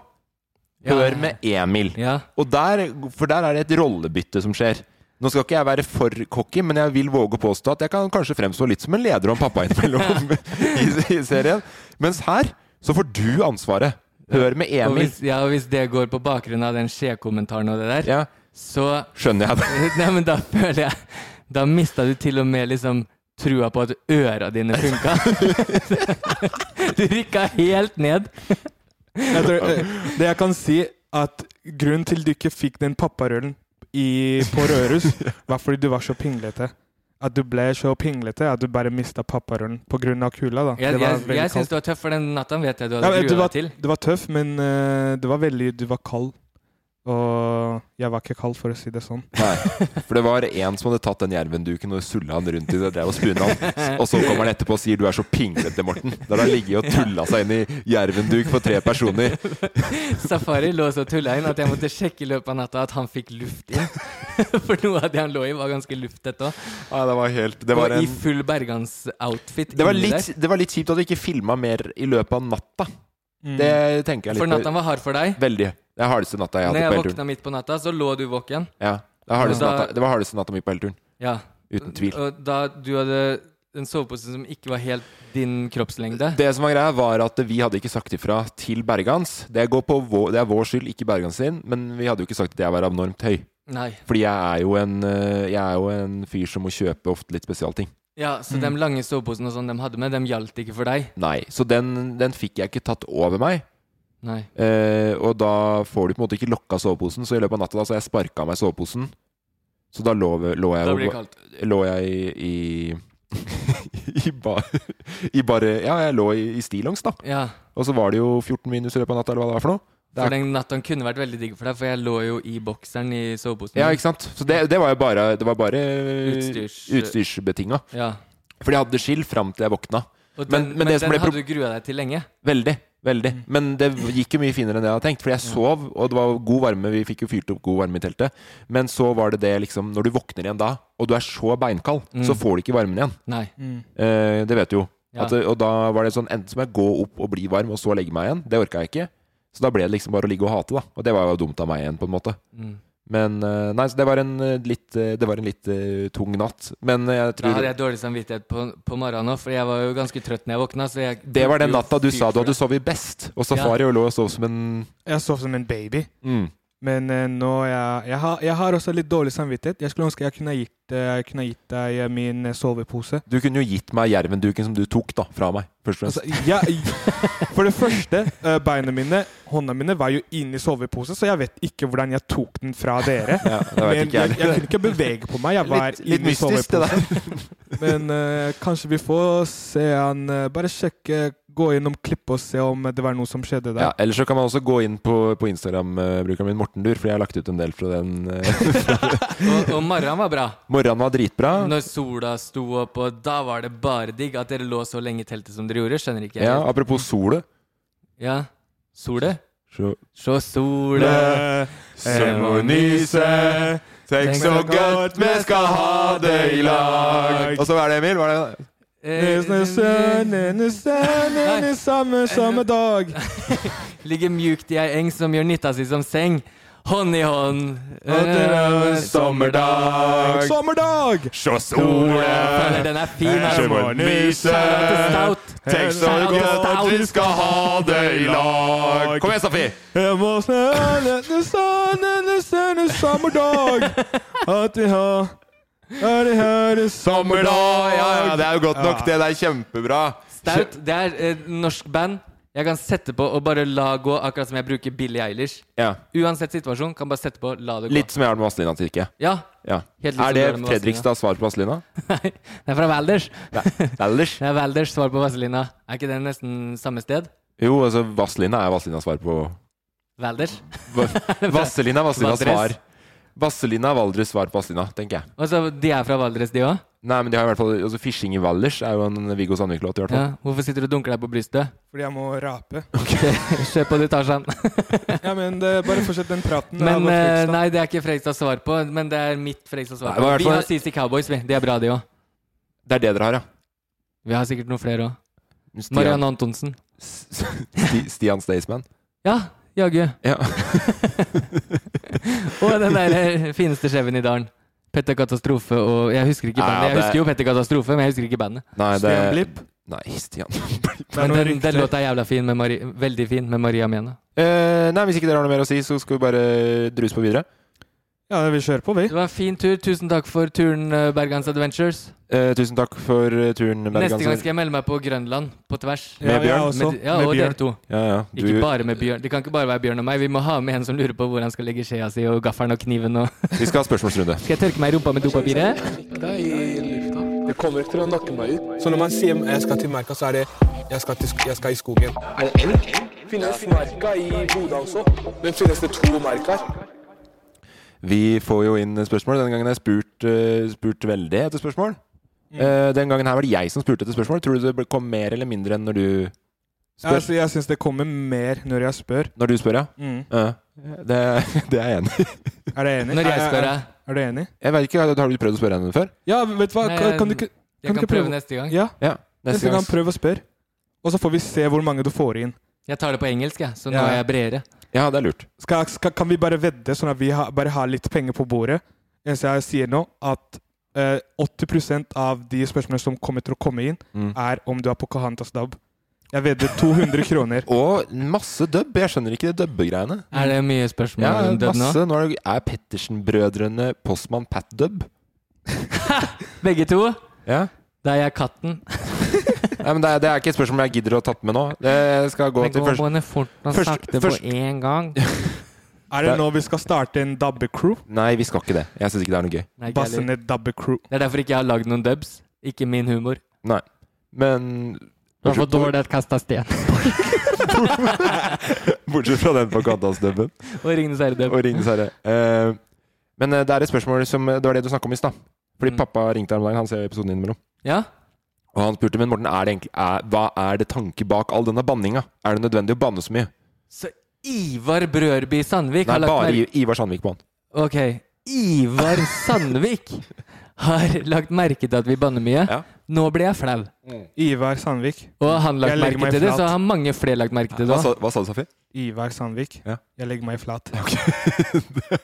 S6: Ja.
S4: Hør med Emil.
S6: Ja.
S4: Og der, for der er det et rollebytte som skjer. Nå skal ikke jeg være for cocky, men jeg vil våge å påstå at jeg kan kanskje fremstå litt som en leder og en pappa innimellom i, i serien. Mens her så får du ansvaret. Hør med
S6: Og
S4: Emil.
S6: hvis, ja, og hvis det går på bakgrunn av den skjekommentaren og det der,
S4: Ja,
S6: så
S4: skjønner jeg det.
S6: Nei, men da føler jeg Da mista du til og med liksom trua på at øra dine funka. du rykka helt ned.
S5: Jeg tror, eh, det jeg kan si, at grunnen til du ikke fikk den papparullen i, på Rørus, var fordi du var så pinglete. At du ble så pinglete at du bare mista papparullen på grunn av kulda. da.
S6: Jeg,
S5: Det var
S6: jeg,
S5: veldig
S6: jeg syns
S5: kaldt.
S6: du var tøff, for den natta vet jeg du
S5: Ja,
S6: hadde
S5: men du
S6: grua
S5: var,
S6: deg til.
S5: du var tøff, men eh, du var veldig Du var kald. Og jeg var ikke kald, for å si det sånn.
S4: Nei, for det var en som hadde tatt den jervenduken og sulla han rundt i det drev og spuna han. Og så kommer han etterpå og sier 'du er så pinglete, Morten'. Der han ligget og tulla seg inn i jervenduk for tre personer.
S6: Safari lå så tulla inn at jeg måtte sjekke i løpet av natta at han fikk luft inn. For noe av det han lå i, var ganske lufttett òg.
S4: Ja, det var helt det var
S6: Og i
S4: en-
S6: full Bergans-outfit.
S4: Det var,
S6: inni
S4: litt,
S6: der.
S4: det var litt kjipt at du ikke filma mer i løpet av natta.
S6: Mm.
S4: Det tenker jeg litt
S6: For natta var hard for deg?
S4: Veldig. Det er hardeste natta jeg har
S6: Når
S4: hatt
S6: jeg
S4: på hele turen.
S6: våkna midt på natta, så lå du våken.
S4: Ja, det, er hardeste
S6: Da-
S4: natta, det var hardeste natta mi på hele turen.
S6: Ja.
S4: Uten tvil.
S6: Og da du hadde en sovepose som ikke var helt din kroppslengde.
S4: Det som var greia, var at vi hadde ikke sagt ifra til Bergans. Det, går på vår, det er vår skyld, ikke Bergans sin, men vi hadde jo ikke sagt at jeg var abnormt høy.
S6: Nei.
S4: Fordi jeg er jo en, øh, jeg er jo en fyr som må kjøpe ofte litt spesialting.
S6: Ja, Så
S4: Mm.
S6: de lange soveposene og sånn de hadde med, de gjaldt ikke for deg?
S4: Nei, så den, den fikk jeg ikke tatt over meg.
S6: Nei.
S4: Eh, og da får du på en måte ikke lokka soveposen, så i løpet av natta da, så har jeg sparka av meg soveposen. Så da lå, lå jeg
S6: Da
S4: jo-
S6: blir det kaldt.
S4: Lå jeg i, i, i, ba, i bare Ja, jeg lå i, i stillongs, da.
S6: Ja.
S4: Og så var det jo 14 minus i løpet av natta, eller hva det var for noe. Det
S6: For
S4: er,
S6: den natta kunne vært veldig digg for deg, for jeg lå jo i bokseren i soveposen.
S4: ja, ikke sant? Så det, det var jo bare, det var bare
S6: Utstyrs-
S4: utstyrsbetinga.
S6: Ja.
S4: Fordi jeg hadde skill fram til jeg våkna.
S6: Og den, men,
S4: det som
S6: den
S4: ble
S6: hadde
S4: prob-
S6: du grua deg til lenge.
S4: Veldig. Veldig.
S6: Mm.
S4: Men det gikk jo mye finere enn det jeg hadde tenkt. Fordi jeg sov, og det var god varme. Vi fikk jo fyrt opp god varme i teltet. Men så var det det liksom Når du våkner igjen da, og du er så beinkald,
S6: Mm.
S4: så får du ikke varmen igjen.
S6: Nei.
S5: mm.
S4: Eh, det vet du jo.
S6: Ja.
S4: At, og da var det sånn Enten så må jeg gå opp og bli varm, og så legge meg igjen. Det orka jeg ikke. Så da ble det liksom bare å ligge og hate, da. Og det var jo dumt av meg igjen, på en måte.
S6: Mm.
S4: Men eh, Nei, så det var en eh, litt, eh, det var en litt eh, tung natt. Men eh,
S6: Da
S4: jeg tror
S6: hadde jeg dårlig samvittighet på, på morgenen òg, for jeg var jo ganske trøtt når jeg våkna. Så jeg
S4: Det var den
S6: jo
S4: natta du
S6: fyrt
S4: sa
S6: for
S4: du
S6: det.
S4: hadde sovet best. Og Safari og lå og sov som en
S5: Jeg sov som en baby.
S4: Mm.
S5: Men eh, nå jeg, jeg, har, jeg har også litt dårlig samvittighet. Jeg skulle ønske jeg kunne gitt, eh, jeg kunne gitt deg eh, min eh, sovepose.
S4: Du kunne jo gitt meg jervenduken som du tok da, fra meg. Først og fremst.
S5: Altså, jeg, for det første, eh, beina mine, hånda mine var jo inni soveposen, så jeg vet ikke hvordan jeg tok den fra dere.
S4: Ja, det vet
S5: Men
S4: ikke jeg
S5: jeg, jeg kunne ikke bevege på meg. Jeg var
S4: Litt- litt
S5: inni
S4: mystisk, det
S5: soveposen. Men eh, kanskje vi får se han eh, Bare sjekke, gå gjennom klippet og se om det var noe som skjedde der.
S4: Ja, Eller så kan man også gå inn på, på Instagram-brukeren min, Mortendur, for jeg har lagt ut en del fra den. eh,
S6: Og, og morgenen var bra.
S4: Morgenen var dritbra.
S6: Når sola sto opp, og da var det bare digg at dere lå så lenge i teltet som dere gjorde. Skjønner ikke jeg.
S4: Ja, apropos solet.
S6: ja. Sole?
S4: Så- Eh,
S6: Sjå sole
S4: Søm og nyse. Tenk så godt vi skal ha det i lag. Og så hva er det, Emil? Hva er det?
S5: Samme, samme dag.
S6: Ligger mjukt i ei eng som gjør nytta si som seng. Hånd i hånd. Eh,
S5: Og det er
S4: sommerdag.
S5: Eh, Sommerdag!
S4: Sjå
S6: Føler den er fin. altså. Shout out til Stout. Shout out til Stout.
S4: Kom igjen, Safi!
S5: Jeg må sende sende sende sommerdag. At vi har er det her i
S4: Sommerdag! Ja, ja, det er jo godt nok.
S5: Ja.
S4: Det der er kjempebra.
S6: Stout, det er eh, norsk band. Jeg kan sette på og bare la gå, akkurat som jeg bruker Billie Eilish.
S4: Ja.
S6: Uansett situasjon, kan bare sette på, la det gå.
S4: Litt som jeg har det med Vazelina, Tirke.
S6: Ja.
S4: Ja.
S6: Helt litt som
S4: Er det
S6: du har det med
S4: Fredrikstad svar på Vazelina?
S6: Det er fra Valdres.
S4: Ellers?
S6: Det er Valdres svar på Vazelina. Er ikke det nesten samme sted?
S4: Jo, altså, Vazelina er Vazelinas svar på
S6: Valdres.
S4: Vazelina er Vazelinas
S6: Valdres.
S4: svar. Vazelina er Valdres svar på Vazelina, tenker jeg.
S6: Og så, De er fra Valdres, de òg?
S4: Nei, men de har i hvert fall altså, Fishing i Valdres er jo en Viggo Sandvik-låt, i hvert
S6: Ja.
S4: fall.
S6: Hvorfor sitter du og dunker deg på brystet?
S5: Fordi jeg må rape.
S6: Se på sånn. det, Tarzan.
S5: Ja, men det, bare fortsett den praten. Det
S6: Men
S5: var
S6: eh,
S5: Fredrikstad.
S6: nei, det er ikke Fredrikstads svar på, men det er mitt Fredrikstads svar
S4: Nei, det
S6: på.
S4: var i hvert
S6: Vi har
S4: fall-
S6: CC Cowboys, vi. De er bra, de òg.
S4: Det er det dere har, ja.
S6: Vi har sikkert noen flere òg.
S4: Stian-
S6: Marianne Antonsen.
S4: Sti- Stian Staysman.
S6: Ja, jaggu.
S4: Ja.
S6: og den der eh, fineste skjeven i dalen. Petter Katastrofe og Jeg husker ikke
S4: Ja,
S6: bandet. Jeg
S4: det-
S6: husker jo Petter Katastrofe, men jeg husker ikke bandet.
S4: Nei, det
S5: Stian Blipp?
S4: Nei, Stian Blipp.
S5: er
S6: Men
S5: noe
S6: den, den
S5: rykter.
S6: låta er jævla fin, med Mari, veldig fin, med Maria Mena.
S4: Eh, nei, hvis ikke dere har noe mer å si, så skal vi bare druse på videre.
S5: Ja, vi kjører på, vi.
S6: Det var en fin tur. Tusen takk for turen, eh, Bergans Adventures.
S4: Eh, tusen takk for eh, turen,
S6: Neste gang
S4: bergenser.
S6: skal jeg melde meg på Grønland, på tvers.
S4: Med Ja, jeg Bjørn? også.
S6: Med, ja,
S4: Med
S6: og
S4: Bjørn.
S6: dere to.
S4: Ja, ja.
S6: Ikke
S4: Du-
S6: bare med Bjørn. Det kan ikke bare være Bjørn og meg. Vi må ha med en som lurer på hvor han skal legge skjea si, og gaffelen og kniven og
S4: Vi skal ha spørsmålsrunde.
S6: Skal jeg tørke meg i rumpa med dopapiret?
S9: Det kommer ikke til å nakke meg ut. Så når man sier jeg skal til merka, så er det jeg skal, til, sk- jeg skal i skogen. Er det elg? Finnes merka i Bodø også? Men finnes det to merker?
S4: Vi får jo inn spørsmål. Den gangen har jeg spurt, eh, spurt veldig etter spørsmål.
S5: Mm.
S4: Eh, den gangen her var det jeg som spurte etter spørsmål. Tror du det ble- kom mer eller mindre enn når du spør?
S5: Altså, jeg syns det kommer mer når jeg spør.
S4: Når du spør, ja?
S5: Mm.
S4: Ja. Eh, det, det er jeg enig i.
S5: Er du enig?
S6: Når jeg
S5: Er-
S6: spør,
S5: er-
S6: ja.
S5: Er du enig?
S4: Jeg vet ikke, har du prøvd å spørre henne før?
S5: Ja, vet du hva?
S6: Nei,
S5: Kan, kan du
S6: jeg
S5: ikke
S6: kan
S5: du ikke
S6: prøve neste gang.
S5: Ja,
S4: Ja,
S5: neste gang prøv å spørre. Og så får vi se hvor mange du får inn.
S6: Jeg tar det på engelsk, jeg, så nå
S5: Ja.
S6: er jeg bredere.
S4: Ja, det er lurt.
S5: Skal, skal, kan vi bare vedde, sånn at vi har- bare har litt penger på bordet? Mens jeg sier nå at eh, 80 av de spørsmålene som kommer til å komme inn,
S4: Mm.
S5: er om du er på Kahantas dab. Jeg vedder 200 kroner.
S4: Og masse dubb. Jeg skjønner ikke de dubbegreiene.
S6: Er det mye spørsmål
S4: Ja,
S6: om død nå?
S4: masse. Nå er, det, er Pettersen-brødrene Postmann Pat-dubb?
S6: Begge to?
S4: Ja.
S6: Da er jeg katten.
S4: Nei, men det, er, det er ikke et spørsmål jeg gidder å tatt med nå. Det skal gå
S6: Det
S4: til
S6: går
S4: først-
S6: både fort og
S4: først-
S6: sakte
S4: først-
S6: på én gang.
S5: Er det nå vi skal starte en dabbe-crew?
S4: Nei, vi skal ikke det. Jeg syns ikke det er noe gøy.
S6: Nei, ikke
S5: Basse
S6: heller.
S5: ned dabbe-crew.
S6: Det er derfor ikke jeg har lagd noen dubs. Ikke min humor.
S4: Nei. Men
S6: Det var for dårlig at kasta sten.
S4: Bortsett fra den på Katasdubben.
S6: Og Ringenes herre-dubb.
S4: Og Ringenes herre. Eh, men eh, det er et spørsmål som Det var det du snakka om i stad. Fordi
S6: Mm.
S4: pappa ringte her om dagen. Han ser jo episoden innimellom.
S6: Ja?
S4: Og han spurte men Morten, er det egentlig, er, hva er det tanke bak all denne banninga? Er det nødvendig å banne så mye?
S6: Så Ivar Brørby Sandvik
S4: Nei,
S6: har lagt
S4: bare
S6: merke
S4: I- Ivar Sandvik på han.
S6: Ok. Ivar Sandvik har lagt merke til at vi banner mye.
S4: Ja.
S6: Nå blir jeg flau.
S5: Ivar Sandvik.
S6: Og han lagt
S5: Jeg legger
S6: merke
S5: meg
S6: til det,
S5: flat.
S6: så har mange flere lagt merke til det.
S4: Hva
S6: også.
S4: sa, hva sa du, Safi?
S5: Ivar Sandvik.
S4: Ja.
S5: Jeg legger meg flat.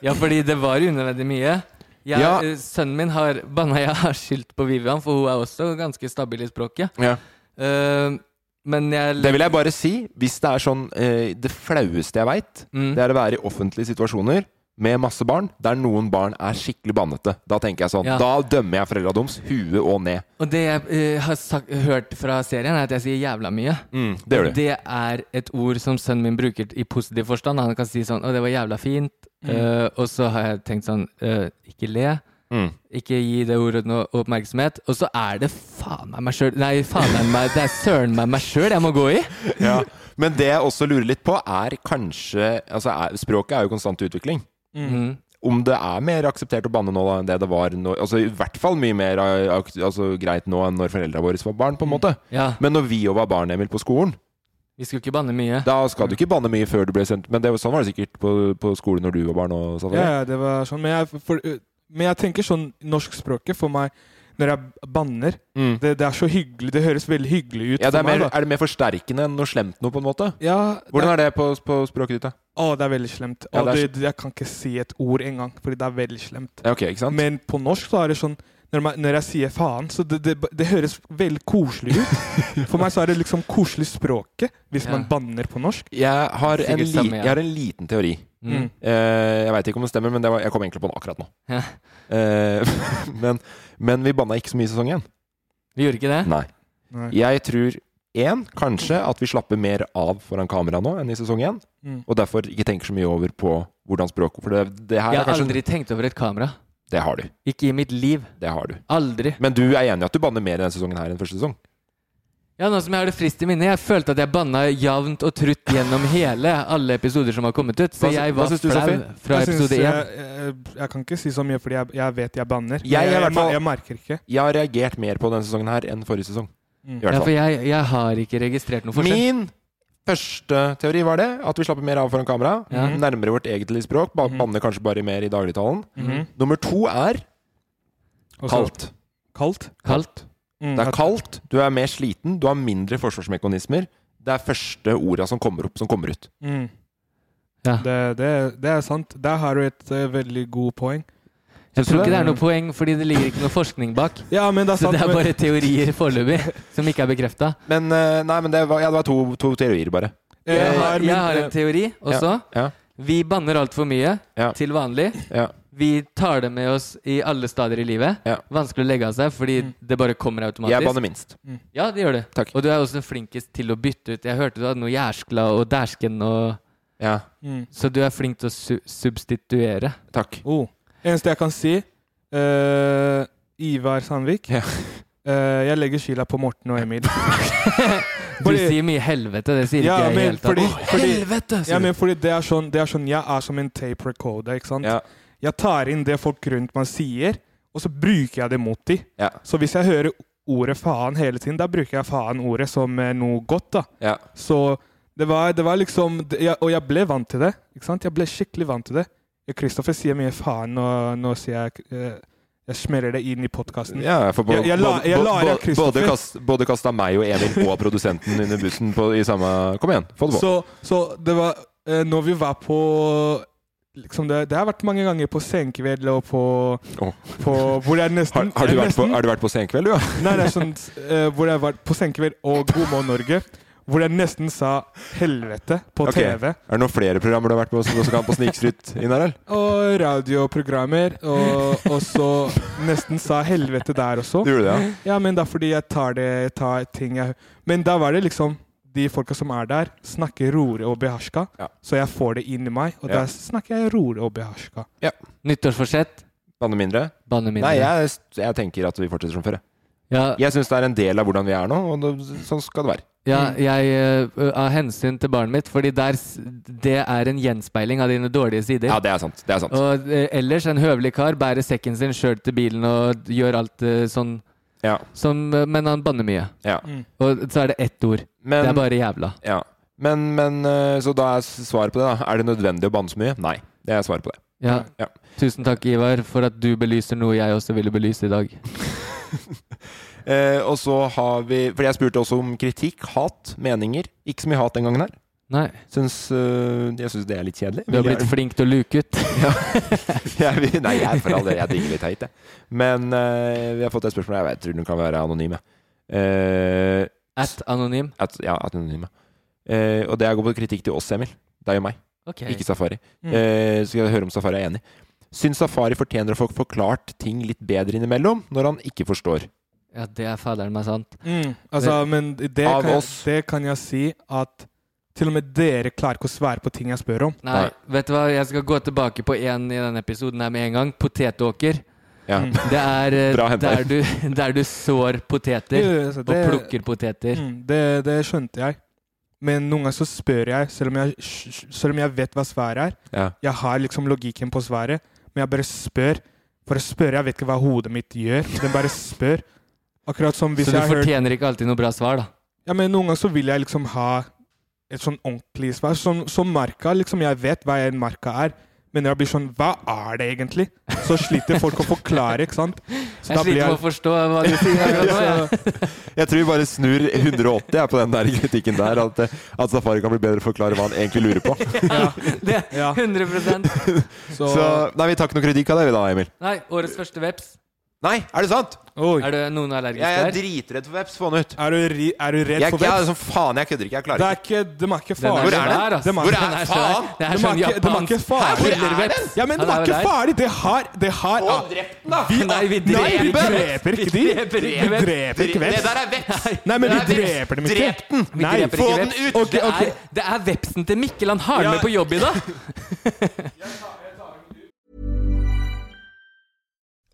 S6: Ja, fordi det var unødvendig mye. Jeg,
S4: altså- Ja.
S6: eh, Sønnen min har banna jeg har skyldt på Vivian, for hun er også ganske stabil i språket.
S4: Ja.
S6: Eh, men jeg
S4: Det vil jeg bare si. Hvis det er sånn eh, Det flaueste jeg veit,
S6: Mm.
S4: det er å være i offentlige situasjoner med masse barn, der noen barn er skikkelig bannete. Da tenker jeg sånn.
S6: Ja.
S4: Da dømmer jeg foreldra deres huet og ned.
S6: Og det jeg eh, har sagt, hørt fra serien, er at jeg sier 'jævla mye'.
S4: det gjør
S6: Og
S4: du.
S6: det er et ord som sønnen min bruker i positiv forstand. Han kan si sånn 'Å, det var jævla fint'. Eh, og så har jeg tenkt sånn eh, Ikke le.
S4: Mm.
S6: Ikke gi det ordet noe oppmerksomhet. Og så er det faen meg meg sjøl Nei, faen meg meg Det er søren meg meg sjøl jeg må gå i!
S4: Ja. Men det jeg også lurer litt på, er kanskje altså er, Språket er jo konstant i utvikling.
S6: Mhm.
S4: Om det er mer akseptert å banne nå da, enn det det var nå Altså I hvert fall mye mer eh, ak- altså, greit nå enn når foreldra våre var barn, på
S6: Mm.
S4: en måte.
S6: Ja.
S4: Men når vi jo var barn, Emil, på skolen
S6: Vi skulle ikke banne mye.
S4: Da skal du ikke banne mye før du ble sendt Men det, var- sånn var det sikkert på, på skolen når du var barn og sånn.
S5: Ja, ja, det var sånn. Men jeg, for, uh, men jeg tenker sånn norskspråket for meg når jeg banner
S4: Mm.
S5: det, det er så hyggelig. Det høres veldig hyggelig ut
S4: Ja, det er,
S5: for
S4: mer,
S5: meg. da.
S4: er det mer forsterkende enn noe slemt noe, på en måte?
S5: Ja, det,
S4: Hvordan er det på, på språket ditt, da?
S5: å, det er veldig slemt.
S4: Ja,
S5: Å,
S4: det er
S5: det, jeg kan ikke si et ord engang, fordi det er veldig slemt.
S4: Ja, ok, ikke sant?
S5: Men på norsk så er det sånn når, man, når jeg sier faen, så det, det, det høres veldig koselig ut. For meg så er det liksom koselig språket hvis
S6: Ja.
S5: man banner på norsk.
S4: Jeg har, en,
S6: Sikkert
S4: li
S6: samme, ja.
S4: jeg har en liten teori.
S6: Mm.
S4: Eh, jeg veit ikke om det stemmer, men det var, jeg kom egentlig på den akkurat nå.
S6: Ja.
S4: Eh, men, men vi banna ikke så mye i sesong én.
S6: Vi gjorde ikke det?
S4: Nei.
S5: Nei.
S4: Jeg tror én, kanskje, at vi slapper mer av foran kamera nå enn i sesong én.
S5: Mm.
S4: Og derfor ikke tenker så mye over på hvordan språket For det, det her
S6: Jeg
S4: er
S6: har
S4: kanskje
S6: aldri tenkt over et kamera.
S4: Det har du.
S6: Ikke i mitt liv.
S4: Det har du.
S6: Aldri.
S4: Men du er enig i at du banner mer i denne sesongen her enn første sesong?
S6: Ja, nå som jeg har det friskt i minnet, jeg følte at jeg banna jevnt og trutt gjennom hele alle episoder som har kommet ut. Så
S4: Hva-
S6: jeg
S4: hva
S6: var
S4: syns eh, du,
S6: flau
S4: Sofie?
S6: fra
S5: jeg, syns,
S6: episode én.
S5: jeg, jeg, jeg kan ikke si så mye, fordi jeg, jeg vet jeg banner.
S4: Jeg er i
S5: Men
S4: hvert fall-
S5: jeg merker ikke.
S4: Jeg har reagert mer på denne sesongen her enn forrige sesong. I
S6: Ja,
S4: hvert
S6: for
S4: fall.
S6: jeg, jeg har ikke registrert noe forskjell.
S4: Min første teori var det, at vi slapper mer av foran kamera.
S6: Ja.
S4: Nærmere vårt eget lille språk. ba- Banner kanskje bare mer i dagligtalen. Nummer to er
S5: Også-
S4: kaldt.
S5: Kaldt?
S6: Kaldt.
S5: Mm,
S4: Det er
S5: at-
S4: kaldt, du er mer sliten, du har mindre forsvarsmekanismer. Det er første orda som kommer opp, som kommer ut.
S5: Mm.
S6: Ja.
S5: Det, det, det er sant. Der har du et eh, veldig god poeng.
S6: Jeg
S4: Syns du
S6: tror ikke det
S4: det?
S6: er noe poeng, fordi det ligger ikke noe forskning bak.
S5: Ja, men det er
S6: Så
S5: sant.
S6: det er
S5: men-
S6: bare teorier foreløpig, som ikke er bekrefta.
S4: Men eh, nei, men det var, ja, det var to, to teorier, bare.
S6: Jeg,
S5: Eh,
S6: har-
S5: min-
S6: jeg har en teori også.
S4: Ja,
S6: Vi banner altfor mye
S4: Ja.
S6: til vanlig.
S4: ja,
S6: Vi tar det med oss i alle stadier i livet.
S4: Ja.
S6: Vanskelig å legge av seg, fordi det bare kommer
S4: ja. Jeg
S6: automatisk.
S4: banner minst.
S6: Ja, det gjør det.
S4: Takk.
S6: Og du er også den flinkest til å bytte ut. Jeg hørte du hadde noe jærskla og dæsken og
S4: Ja,
S5: Mm.
S6: Så du er flink til å su substituere.
S4: takk.
S5: Oh. Eneste jeg kan si eh, Ivar Sandvik.
S4: Ja.
S5: Eh, jeg legger skylda på Morten og Emil.
S6: Du
S5: Fordi-
S6: sier mye helvete, det sier
S5: Ja,
S6: ikke jeg i
S5: men
S6: hele tatt.
S5: fordi-
S6: Åh,
S5: fordi-
S6: helvete! sier
S5: ja,
S6: du.
S5: men fordi det er sånn, det er sånn Jeg er som en tape recorder, ikke sant?
S4: Ja.
S5: Jeg tar inn det folk rundt meg sier, og så bruker jeg det mot dem.
S4: Ja.
S5: Så hvis jeg hører ordet faen hele tiden, da bruker jeg faen-ordet som eh, noe godt. da.
S4: Ja.
S5: Så det var, det var liksom det- jeg, Og jeg ble vant til det. ikke sant? Jeg ble skikkelig vant til det. Kristoffer sier mye faen, og nå sier jeg eh, Jeg smeller det inn i podkasten.
S4: Ja, for bo,
S5: jeg, jeg, la,
S4: både-
S5: jeg
S4: bo-
S5: lar
S4: bo-
S5: av Kristoffer.
S4: både, kast, både kasta meg og Emil og produsenten under bussen på, i samme Kom igjen, få det på.
S5: Så, så det var eh, Når vi var på liksom det, det har vært mange ganger på senkveld og på,
S4: Åh.
S5: på Hvor jeg nesten
S4: har, du vært på,
S5: nesten-
S4: har du vært på Senkveld, du? ja?
S5: Nei, det er sånn eh, Hvor jeg var på senkveld og God morgen Norge. Hvor jeg nesten sa 'helvete' på
S4: Ok.
S5: TV.
S4: Er det noen flere programmer du har vært på som også kan på snikskryt inn her, eller?
S5: Og radioprogrammer. Og, og så nesten sa 'helvete' der også.
S4: Du gjorde det,
S5: ja? men det er fordi jeg tar, det, tar ting jeg Men da var det liksom de folka som er der, snakker rolig og beherska. Så jeg får det inn i meg, og
S4: Ja.
S5: da snakker jeg rolig og beherska.
S4: Ja.
S6: Nyttårsforsett?
S4: Banne mindre?
S6: Banne mindre.
S4: Nei, jeg, jeg tenker at vi fortsetter som før. jeg.
S6: Ja.
S4: Jeg syns det er en del av hvordan vi er nå, og det, sånn skal det være.
S6: Ja, jeg, ø, av hensyn til barnet mitt, fordi der, s- det er en gjenspeiling av dine dårlige sider.
S4: Ja, det er sant. Det er sant.
S6: Og ø, ellers, en høvelig kar bærer sekken sin sjøl til bilen og gjør alt ø, sånn. Som, ø, men han banner mye.
S4: Ja.
S5: Mm.
S6: Og så er det ett ord.
S4: Men-
S6: det er bare jævla.
S4: Ja. Men, men eh, Så da er s- svaret på det, da. Er det nødvendig å banne så mye? Nei. Det er svaret på det.
S6: Ja. Tusen takk, Ivar, for at du belyser noe jeg også ville belyse i dag.
S4: Eh, og så har vi For jeg spurte også om kritikk, hat, meninger. Ikke så mye hat den gangen her.
S6: Nei.
S4: Syns, eh, jeg syns det er litt kjedelig.
S6: Du har blitt flink til å luke ut.
S4: jeg, vil- nei, jeg er for all del, jeg digger litt heit, jeg. Men eh, vi har fått et spørsmål. Jeg vet, tror den kan være anonym. jeg. Eh,
S6: at anonym?
S4: ja, at anonym. ja. Eh, og det går på kritikk til oss, Emil. Deg og meg.
S6: Ok.
S4: Ikke Safari.
S6: Mm.
S4: Eh, så skal jeg høre om Safari er enig. Syns Safari fortjener å få forklart ting litt bedre innimellom, når han ikke forstår.
S6: Ja, det er faderen meg sant.
S5: Mm, altså, men det
S4: Av
S5: kan,
S4: oss.
S5: det kan jeg si at til og med dere klarer ikke å svære på ting jeg spør om.
S6: Nei, vet du hva? Jeg skal gå tilbake på en i denne episoden her med en gang. Potetåker.
S4: Ja.
S6: Det er eh,
S5: Bra
S6: der
S5: hentet.
S6: du, der du sår poteter
S5: Jo, altså, det-
S6: og plukker poteter.
S5: Mm, det, det skjønte jeg. Men noen ganger så spør jeg, selv om jeg, selv om jeg vet hva svaret er.
S4: Ja.
S5: Jeg har liksom logikken på svaret, men jeg bare spør. For å spørre, jeg vet ikke hva hodet mitt gjør. Den bare spør. Akkurat som hvis
S6: Så du
S5: jeg har hørt
S6: fortjener ikke alltid noe bra svar, da.
S5: ja, men Noen ganger så vil jeg liksom ha et sånn ordentlig svar. Som, som marka, liksom. Jeg vet hva en marka er. Men når jeg blir sånn Hva er det egentlig? Så sliter folk å forklare, ikke sant? Så
S6: Jeg
S5: da blir
S6: sliter med å forstå hva du sier akkurat nå. jeg.
S4: Jeg tror vi bare snur 180 jeg, på den der kritikken der. At, eh, at Safari kan bli bedre forklare hva han egentlig lurer på.
S6: Det, 100
S4: Så, nei, vi tar ikke noe kritikk av deg, vi da, Emil.
S6: Nei, årets første veps.
S4: Nei, er det sant?
S6: Er det noen allergisk
S4: Jeg er
S6: der?
S4: dritredd for veps. Få den ut.
S5: Er du, ri- er du redd
S4: Jeg,
S5: for
S4: jeg er
S5: veps?
S4: sånn faen, jeg kødder ikke. Jeg
S5: Det
S4: klarer
S5: er
S4: ikke.
S5: ikke De er ikke
S4: Den er
S5: farlige.
S4: svær, ass.
S6: altså.
S5: De
S4: Hvor er
S5: den
S4: den?
S5: faen?
S4: Det er
S5: De ikke-
S4: sånn
S5: de er
S4: japansk
S5: ikke farlige.
S4: herreveps.
S5: Ja, men de
S4: Han
S5: er
S4: er
S5: ikke
S4: vel der.
S5: farlige. Det har det har,
S4: Å, drep den, da.
S5: Vi,
S4: Nei, vi
S5: Nei, vi
S4: dreper den.
S5: dreper ikke de.
S4: Vi
S5: Vi dreper
S4: dreper ikke veps.
S5: ikke veps.
S4: Det der er veps.
S5: Nei, men
S4: Det
S5: vi
S4: er veps.
S5: dreper dem ikke.
S4: Drep den.
S6: Vi
S5: Nei,
S6: dreper ikke veps.
S5: Ok,
S6: Det,
S5: ok.
S6: er, det er vepsen til Mikkel. Han har den
S5: Ja.
S6: med på jobb i dag.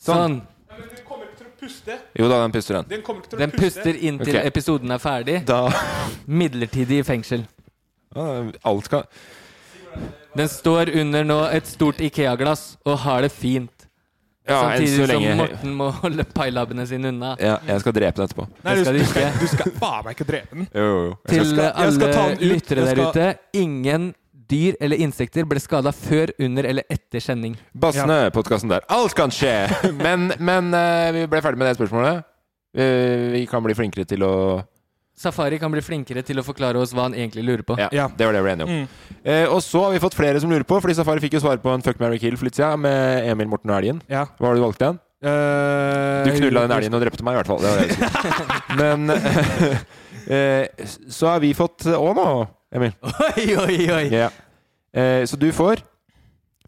S6: Sånn.
S5: Puste.
S4: Jo da, den puster, den.
S5: Den kommer ikke til å
S6: Den
S5: puste.
S6: puster inntil
S4: Ok.
S6: episoden er ferdig. Midlertidig i fengsel.
S4: Alt skal
S6: Den står under nå et stort Ikea-glass og har det fint.
S4: Ja, enn så
S6: Samtidig som
S4: lenge.
S6: Morten må holde pailabbene sine unna.
S4: Ja, jeg skal drepe den etterpå.
S6: Det skal du ikke.
S5: Du skal faen meg ikke drepe den.
S4: Jo, jo, jo. Jeg
S6: Til
S4: skal- jeg skal ta
S6: alle
S4: den ut.
S6: lyttere
S4: Jeg
S6: der
S4: skal-
S6: ute, ingen dyr eller insekter ble skada før, under eller etter sending.
S4: Bassene, podkasten der. Alt kan skje! Men, men eh, vi ble ferdig med det spørsmålet. Eh, vi kan bli flinkere til å
S6: Safari kan bli flinkere til å forklare oss hva han egentlig lurer på.
S4: Ja, det var det vi ble enige om. Eh, og så har vi fått flere som lurer på, fordi Safari fikk jo svare på en Fuck Mary Kill for litt siden med Emil Morten og Elgen.
S5: Ja.
S4: Hva var det du valgte igjen?
S5: Eh,
S4: Du knulla den elgen og drepte meg, i hvert fall. Det var det jeg husker. Men eh, eh, så har vi fått òg nå, Emil.
S6: Oi, oi, oi.
S4: Ja. Eh, så du får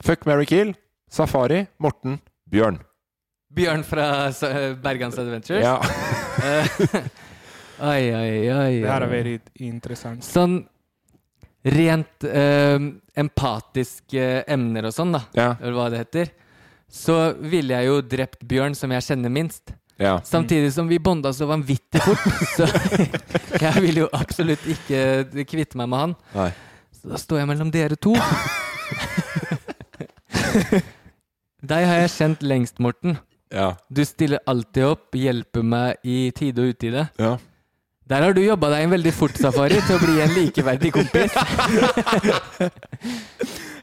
S4: Fuck Mary Kill, Safari, Morten, Bjørn.
S6: Bjørn fra Sa- Bergans Adventures.
S4: Ja.
S6: Eh, oi, oi, oi.
S5: Det her er veldig interessant.
S6: Sånn rent eh, empatiske emner og sånn, da, eller hva det heter, så ville jeg jo drept Bjørn, som jeg kjenner minst.
S4: Ja.
S6: Samtidig som vi bonda så vanvittig fort, så jeg ville jo absolutt ikke kvitte meg med han.
S4: Nei.
S6: Så da står jeg mellom dere to. Deg har jeg kjent lengst, Morten.
S4: Ja.
S6: Du stiller alltid opp, hjelper meg i tide og utide.
S4: Ja.
S6: Der har du jobba deg en veldig fort safari til å bli en likeverdig kompis.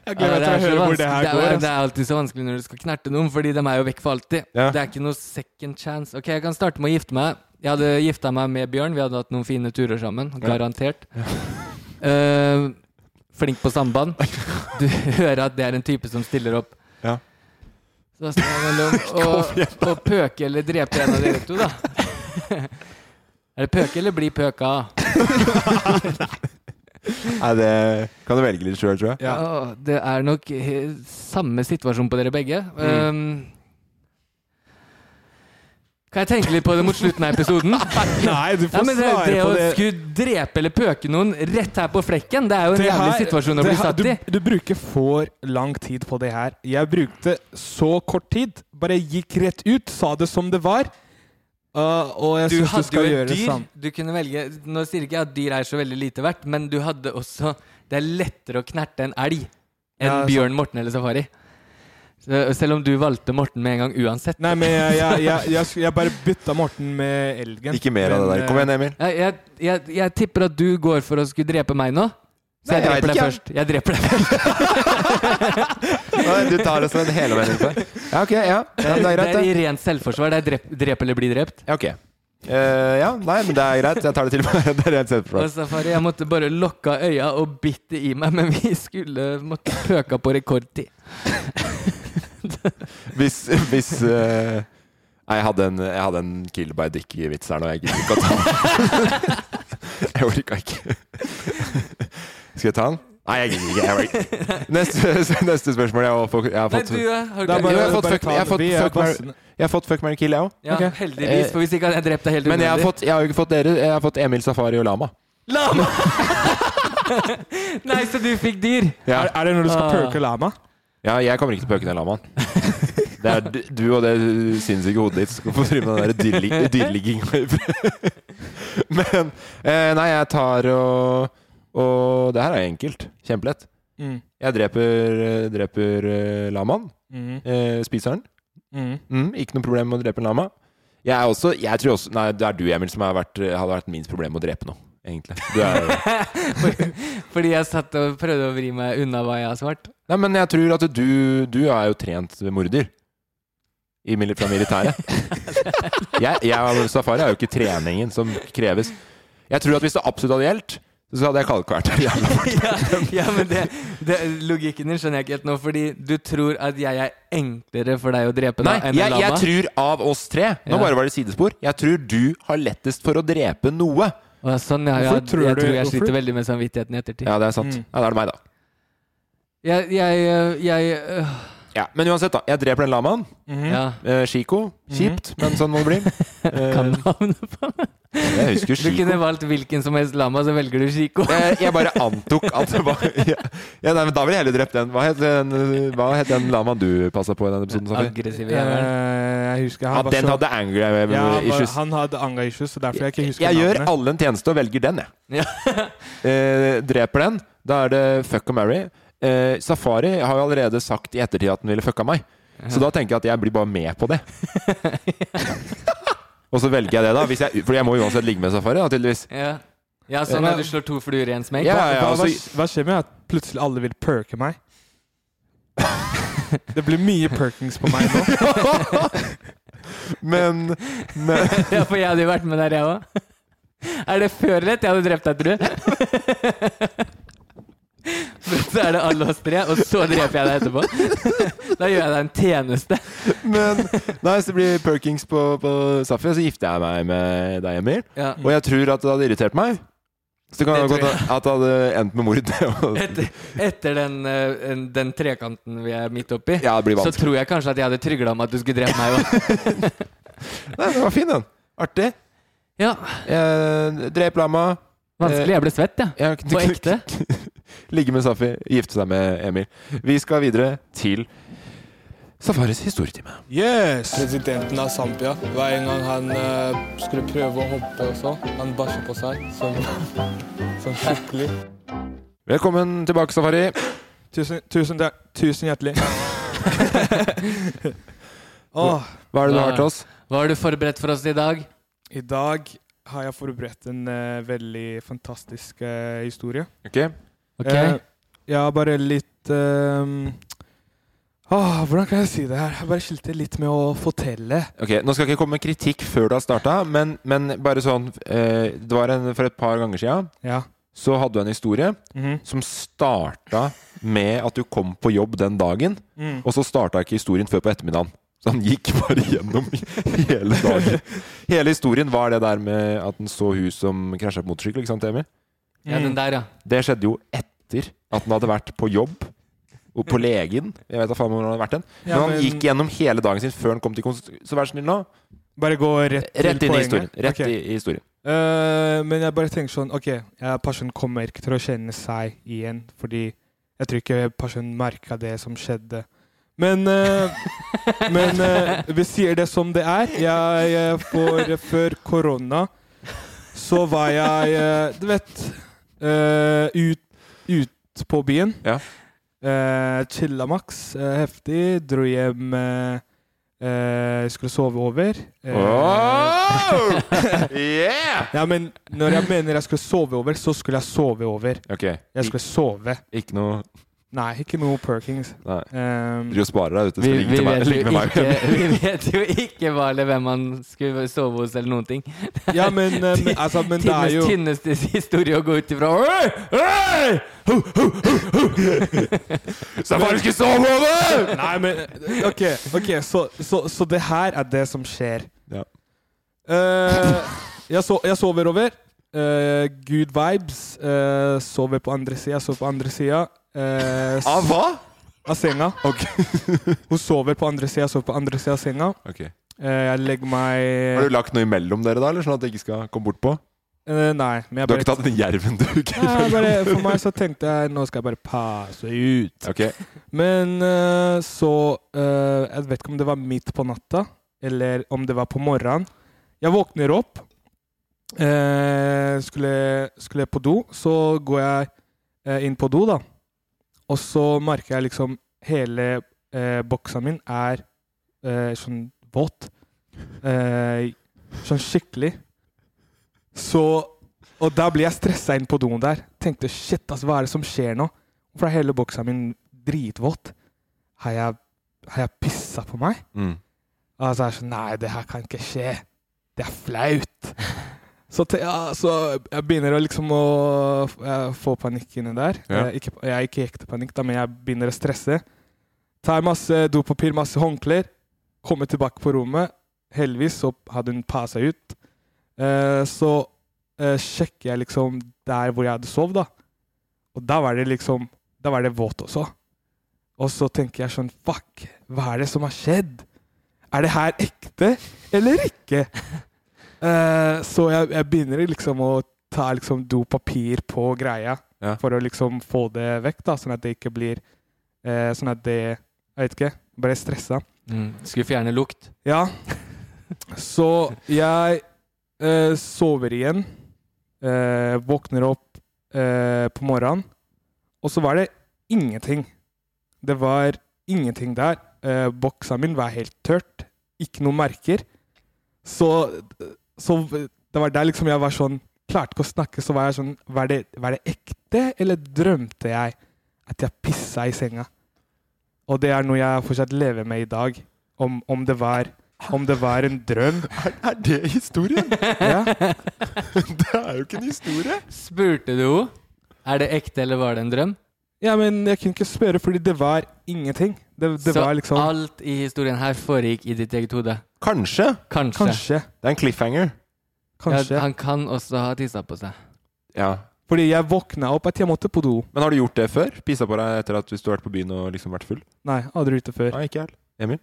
S5: Jeg
S6: Ja,
S5: gleder
S6: så
S5: meg til å høre hvor
S6: vanskelig.
S5: det her
S6: er-
S5: går. altså.
S6: det er alltid så vanskelig når du skal knerte noen, fordi de er jo vekk for alltid.
S4: Ja.
S6: Det er ikke noe second chance. Ok, jeg kan starte med å gifte meg. Jeg hadde gifta meg med Bjørn, vi hadde hatt noen fine turer sammen. Garantert. Eh, flink på samband. Du hører at det er en type som stiller opp.
S4: Ja.
S6: Så da står jeg mellom å, å pøke eller drepe en av dere to, da. Er det pøke eller bli pøka?
S4: Nei, det kan du velge litt sjøl, tror jeg.
S6: Ja. det er nok he- samme situasjon på dere begge. Um, kan jeg tenke litt på det mot slutten av episoden?
S5: Nei, du får
S6: Nei, men det,
S5: svare
S6: det
S5: på
S6: å
S5: det.
S6: skulle drepe eller pøke noen rett her på flekken, det er jo en
S5: Det her-
S6: jævlig situasjon å
S5: det
S6: bli
S5: her-
S6: satt i.
S5: Du, du bruker for lang tid på det her. Jeg brukte så kort tid. Bare gikk rett ut, sa det som det var. Uh, og jeg
S6: Du
S5: syns du
S6: hadde jo
S5: skal
S6: et
S5: gjøre det
S6: dyr.
S5: samme.
S6: Du kunne velge Nå sier ikke jeg at dyr er så veldig lite verdt, men du hadde også Det er lettere å knerte en elg enn
S5: Ja, sant.
S6: Bjørn, Morten eller Safari. Så, selv om du valgte Morten med en gang uansett.
S5: Nei, men jeg, jeg, jeg, jeg, jeg bare bytta Morten med elgen. øh,
S4: Ikke mer av det der. Kom igjen, Emil.
S6: Jeg, jeg, jeg, jeg tipper at du går for å skulle drepe meg nå. Så
S4: Nei,
S6: jeg
S4: jeg
S6: dreper
S4: vet
S6: deg
S4: ikke,
S6: først. Jeg dreper deg først.
S4: Nei, Du tar det som en helomvending på det. eh, Ja, ok, ja. ja det er greit,
S6: i
S4: det.
S6: rent selvforsvar. Det er drep, drep eller bli drept.
S4: Ja, ok. Eh, ja, nei, men det er greit. Jeg tar det til meg. Det er rent
S6: Og
S4: selvforsvar.
S6: Safari, jeg måtte bare lukke av øya og bitte i meg, men vi skulle måtte pøka på rekordtid.
S4: Hvis, hvis eh, Nei, jeg hadde en, jeg hadde en kill by dick-vits her nå. Jeg gidder ikke å ta den. Jeg orka ikke. Skal jeg ta den? Nei, jeg gidder ikke. Jeg orker ikke. Neste, neste spørsmål. Jeg har fått, jeg har
S6: Nei,
S4: fått,
S6: du eh, har
S5: Det er
S6: ikke
S5: bare-
S4: Jo, jeg har fått
S5: bare
S4: fuck,
S5: ta
S4: jeg har
S5: det.
S4: fått
S5: Vi er
S4: fuck, Mary-
S5: bassene.
S4: jeg har fått fuck Mary Kill, jeg òg.
S6: Ja,
S5: Ok.
S6: heldigvis, for hvis ikke hadde jeg drept deg helt
S4: Men jeg har,
S6: unødvendig.
S4: fått, jeg har jo ikke fått dere. Jeg har fått Emil Safari og Lama.
S6: Lama! Nei, så du fikk dyr?
S4: Ja.
S5: Er, er det når du skal
S6: Ah.
S5: pøke lama?
S4: Ja, jeg kommer ikke til å pøke den lamaen. Det er du, du og det sinnssyke hodet ditt som får drive med den der dyrligginga. Men eh, nei, jeg tar og Og det her er enkelt. Kjempelett.
S5: Mm.
S4: Jeg dreper, eh, dreper eh, lamaen.
S5: Mhm.
S4: Eh, spiser den.
S5: Mhm.
S4: Mm, ikke noe problem med å drepe en lama. Jeg, er også, jeg tror også Nei, det er du, Emil, som har vært, hadde vært minst problem med å drepe nå, egentlig. Du er
S6: Fordi jeg satt og prøvde å vri meg unna hva jeg har svart.
S4: Nei, men jeg tror at du, du er jo trent morder. I, mili- fra militæret. jeg, jeg og Safari er jo ikke treningen som kreves. Jeg tror at hvis det absolutt hadde gjeldt, så hadde jeg kalkvært. Jævla fort.
S6: Ja, men det, det, Logikken din skjønner jeg ikke helt nå, fordi du tror at jeg er enklere for deg å drepe da, enn
S4: Nei,
S6: en
S4: jeg, jeg
S6: lama?
S4: tror av oss tre Nå
S6: Ja.
S4: bare var det sidespor. Jeg tror du har lettest for å drepe noe.
S6: Å, ja, sånn, ja, ja.
S4: Hvorfor tror
S6: jeg
S4: du-
S6: tror jeg
S4: hvorfor-
S6: sliter veldig med samvittigheten i ettertid.
S4: Ja, det er sant.
S6: Mm.
S4: Ja, da er det meg, da.
S6: Jeg, jeg, øh, jeg øh,
S4: Ja, men uansett, da. Jeg dreper den lamaen.
S6: Mhm. Ja.
S4: Eh, Chico. Kjipt, men sånn må det bli. Eh,
S6: Mm. Kan navnet på meg?
S4: Jeg husker Chico.
S6: Du kunne valgt hvilken som helst lama, så velger du Chico.
S4: jeg, jeg bare antok at det var ja, ja, nei, men Da ville jeg heller drept den. Hva het den, eh, hva het den lamaen du passa på i den episoden? Safi?
S6: Aggressiv
S5: Eh, jeg husker han
S4: Ja,
S5: var
S4: den
S5: så-
S4: hadde anger, eh,
S5: ja, han var-
S4: issues.
S5: Han hadde anger issues, så derfor jeg ikke husker
S4: Jeg gjør
S5: navnet.
S4: alle en tjeneste og velger den, jeg. eh, dreper den. Da er det fuck og marry. Eh, Safari har jo allerede sagt i ettertid at den ville fucka meg. Så da tenker jeg at jeg blir bare med på det. og så velger jeg det, da. Hvis jeg, for jeg må uansett ligge med Safari, da, tydeligvis.
S6: Ja, ja sånn at du slår to fluer i en smekk.
S5: hva, hva,
S4: altså.
S5: hva, hva skjer med at plutselig alle vil perke meg? Det blir mye perkings på meg nå.
S4: Men,
S6: Ja, for jeg hadde jo vært med der, jeg òg. Er det før eller etter jeg hadde drept deg, tror du? For så er det alle oss tre, og så dreper jeg deg etterpå? Da gjør jeg deg en tjeneste.
S4: Men Nei, så det blir Perkins på, på Safi, og så gifter jeg meg med deg, Emil.
S6: Ja.
S4: Og jeg tror at det hadde irritert meg. Så det kan
S6: Mm. Det
S4: det
S6: tror
S4: godt
S6: jeg.
S4: at det hadde endt med mord.
S6: Etter, etter den, eh, en- den trekanten vi er midt oppi,
S4: Ja, det blir
S6: så
S4: vanskelig.
S6: tror jeg kanskje at jeg hadde trygla om at du skulle drepe meg òg.
S4: Nei, den var fin, den. Artig.
S6: Ja.
S4: Eh, drep lama.
S6: Vanskelig. Jeg ble svett, jeg.
S4: Ja.
S6: På ekte.
S4: Ligge med Safi, gifte seg med Emil. Vi skal videre til Safaris historietime.
S9: Yes! Presidenten av Zambia. Hver en gang han eh, skulle prøve å hoppe og sånn, han bæsja på seg. Sånn, sånn skikkelig.
S4: Velkommen tilbake, Safari.
S5: Tusen, tusen, takk. tusen hjertelig. Åh.
S6: Hva har du forberedt for oss i dag?
S5: I dag har jeg forberedt en eh, veldig fantastisk eh, historie.
S4: Ok.
S6: Ok.
S5: Eh, jeg har bare litt ehm, åh, Hvordan kan jeg si det her? Jeg bare skilte litt med å fortelle.
S4: Ok, Nå skal jeg ikke komme med kritikk før det har starta, men, men bare sånn eh, Det var en, for et par ganger sia.
S5: Ja.
S4: Så hadde du en historie
S5: Mhm.
S4: som starta med at du kom på jobb den dagen,
S5: Mm.
S4: og så starta ikke historien før på ettermiddagen. Så han gikk bare gjennom hele dagen. Hele historien var det der med at han så hun som krasja på motorsykkel, ikke sant, Emil?
S6: Ja, den der, ja.
S4: Det skjedde jo etter at han hadde vært på jobb. Og på legen. Jeg vet da faen hvor han hadde vært hen. Men,
S5: Ja,
S4: han
S5: men-
S4: gikk gjennom hele dagen sin før han kom til konst... Så vær så snill nå.
S5: Bare gå rett til
S4: Rett inn i
S5: poenget.
S4: historien. Rett
S5: Ok.
S4: i, i historien.
S5: Eh, men jeg bare tenker sånn Ok, ja, personen kommer ikke til å kjenne seg igjen, fordi jeg tror ikke personen merka det som skjedde. Men, eh, men eh, vi sier det som det er. Jeg, eh, for før korona så var jeg, eh, du vet eh, ut, ut på byen.
S4: Ja.
S5: Eh, chilla maks eh, heftig. Dro hjem eh, eh, Skulle sove over. Eh,
S4: Oh! Yeah!
S5: ja, men når jeg mener jeg skulle sove over, så skulle jeg sove over.
S4: Ok.
S5: Jeg skulle sove.
S4: Ikke noe
S5: Nei, ikke noe Perkins.
S4: Nei.
S5: Um,
S4: Dere sparer deg ute.
S6: Vi,
S4: så ligg
S6: vi,
S4: til meg-
S6: vet jo
S4: ligg med meg.
S6: ikke, vi vet jo ikke hva eller hvem han skulle sove hos, eller noen ting.
S5: Ja, men, eh, men, altså, men det
S6: Tidenes
S5: er jo
S6: tynneste historie å gå ut ifra. Oi! Oi! Ho, ho, ho, ho!
S4: Safari skulle sove over!
S5: Nei, men OK, ok, så, så, så det her er det som skjer.
S4: Ja.
S5: Eh, jeg, so jeg sover over. Eh, good vibes. Eh, sover på andre sida, sover på andre sida. Eh, s-
S4: Av Ah, hva?
S5: Av senga. Hun sover på andre sida, sover på andre sida av senga.
S4: Ok.
S5: Eh, jeg legger meg
S4: Har du lagt noe imellom dere, da? Eller sånn at det ikke skal komme bort på?
S5: Eh, nei, men jeg
S4: Du har
S5: bare,
S4: ikke tatt den jerven du ikke
S5: Nei, jeg bare For meg så tenkte jeg nå skal jeg bare passe ut.
S4: Ok.
S5: Men eh, så eh, Jeg vet ikke om det var midt på natta, eller om det var på morgenen. Jeg våkner opp, eh, skulle, skulle på do. Så går jeg eh, inn på do, da. Og så merker jeg liksom hele eh, boksa min er eh, sånn våt. eh, sånn skikkelig. Så Og da ble jeg stressa inn på doen der. Tenkte shit, ass, hva er det som skjer nå? Hvorfor er hele boksa min dritvåt? Har jeg, har jeg pissa på meg?
S4: Mm.
S5: Og så er jeg sånn Nei, det her kan ikke skje. Det er flaut. Så, te, ja, så jeg begynner å liksom å f- eh, få panikk inni der.
S4: Ja.
S5: Eh, Ikke, jeg er ikke i ekte panikk, da, men jeg begynner å stresse. Tar masse dopapir, masse håndklær. Kommer tilbake på rommet. Heldigvis så hadde hun passa ut. Eh, så eh, sjekker jeg liksom der hvor jeg hadde sovet, da. Og da var det liksom Da var det våt også. Og så tenker jeg sånn Fuck, hva er det som har skjedd? Er det her ekte eller ikke? Eh, så jeg, jeg begynner liksom å ta liksom dopapir på greia for å liksom få det vekk, da, sånn at det ikke blir eh, Sånn at det Jeg vet ikke. Bare stressa.
S6: Mm. Skulle fjerne lukt.
S5: Ja. Så jeg eh, sover igjen. Eh, våkner opp eh, på morgenen, og så var det ingenting. Det var ingenting der. Eh, boksa min var helt tørt. Ikke noen merker. Så, så det var der liksom jeg var sånn Klarte ikke å snakke, så var jeg sånn Var det, var det ekte, eller drømte jeg at jeg pissa i senga? Og det er noe jeg fortsatt lever med i dag. Om, om, det, var, om det var en drøm. Er, det historien? Ja. det er jo ikke en historie.
S6: Spurte du henne? Er det ekte, eller var det en drøm?
S5: Ja, men jeg kunne ikke spørre, fordi det var ingenting. Det, det
S6: Så
S5: var liksom
S6: alt i historien her foregikk i ditt eget hode?
S4: Kanskje.
S6: Kanskje.
S5: Kanskje.
S4: Det er en cliffhanger.
S5: Kanskje.
S6: Ja, han kan også ha tissa på seg.
S4: Ja.
S5: Fordi jeg våkna opp at jeg måtte på do.
S4: Men har du gjort det før? Pissa på deg etter at hvis du har vært på byen og liksom vært full?
S5: Nei, aldri gjort det før.
S4: Nei, ikke jeg. Emil?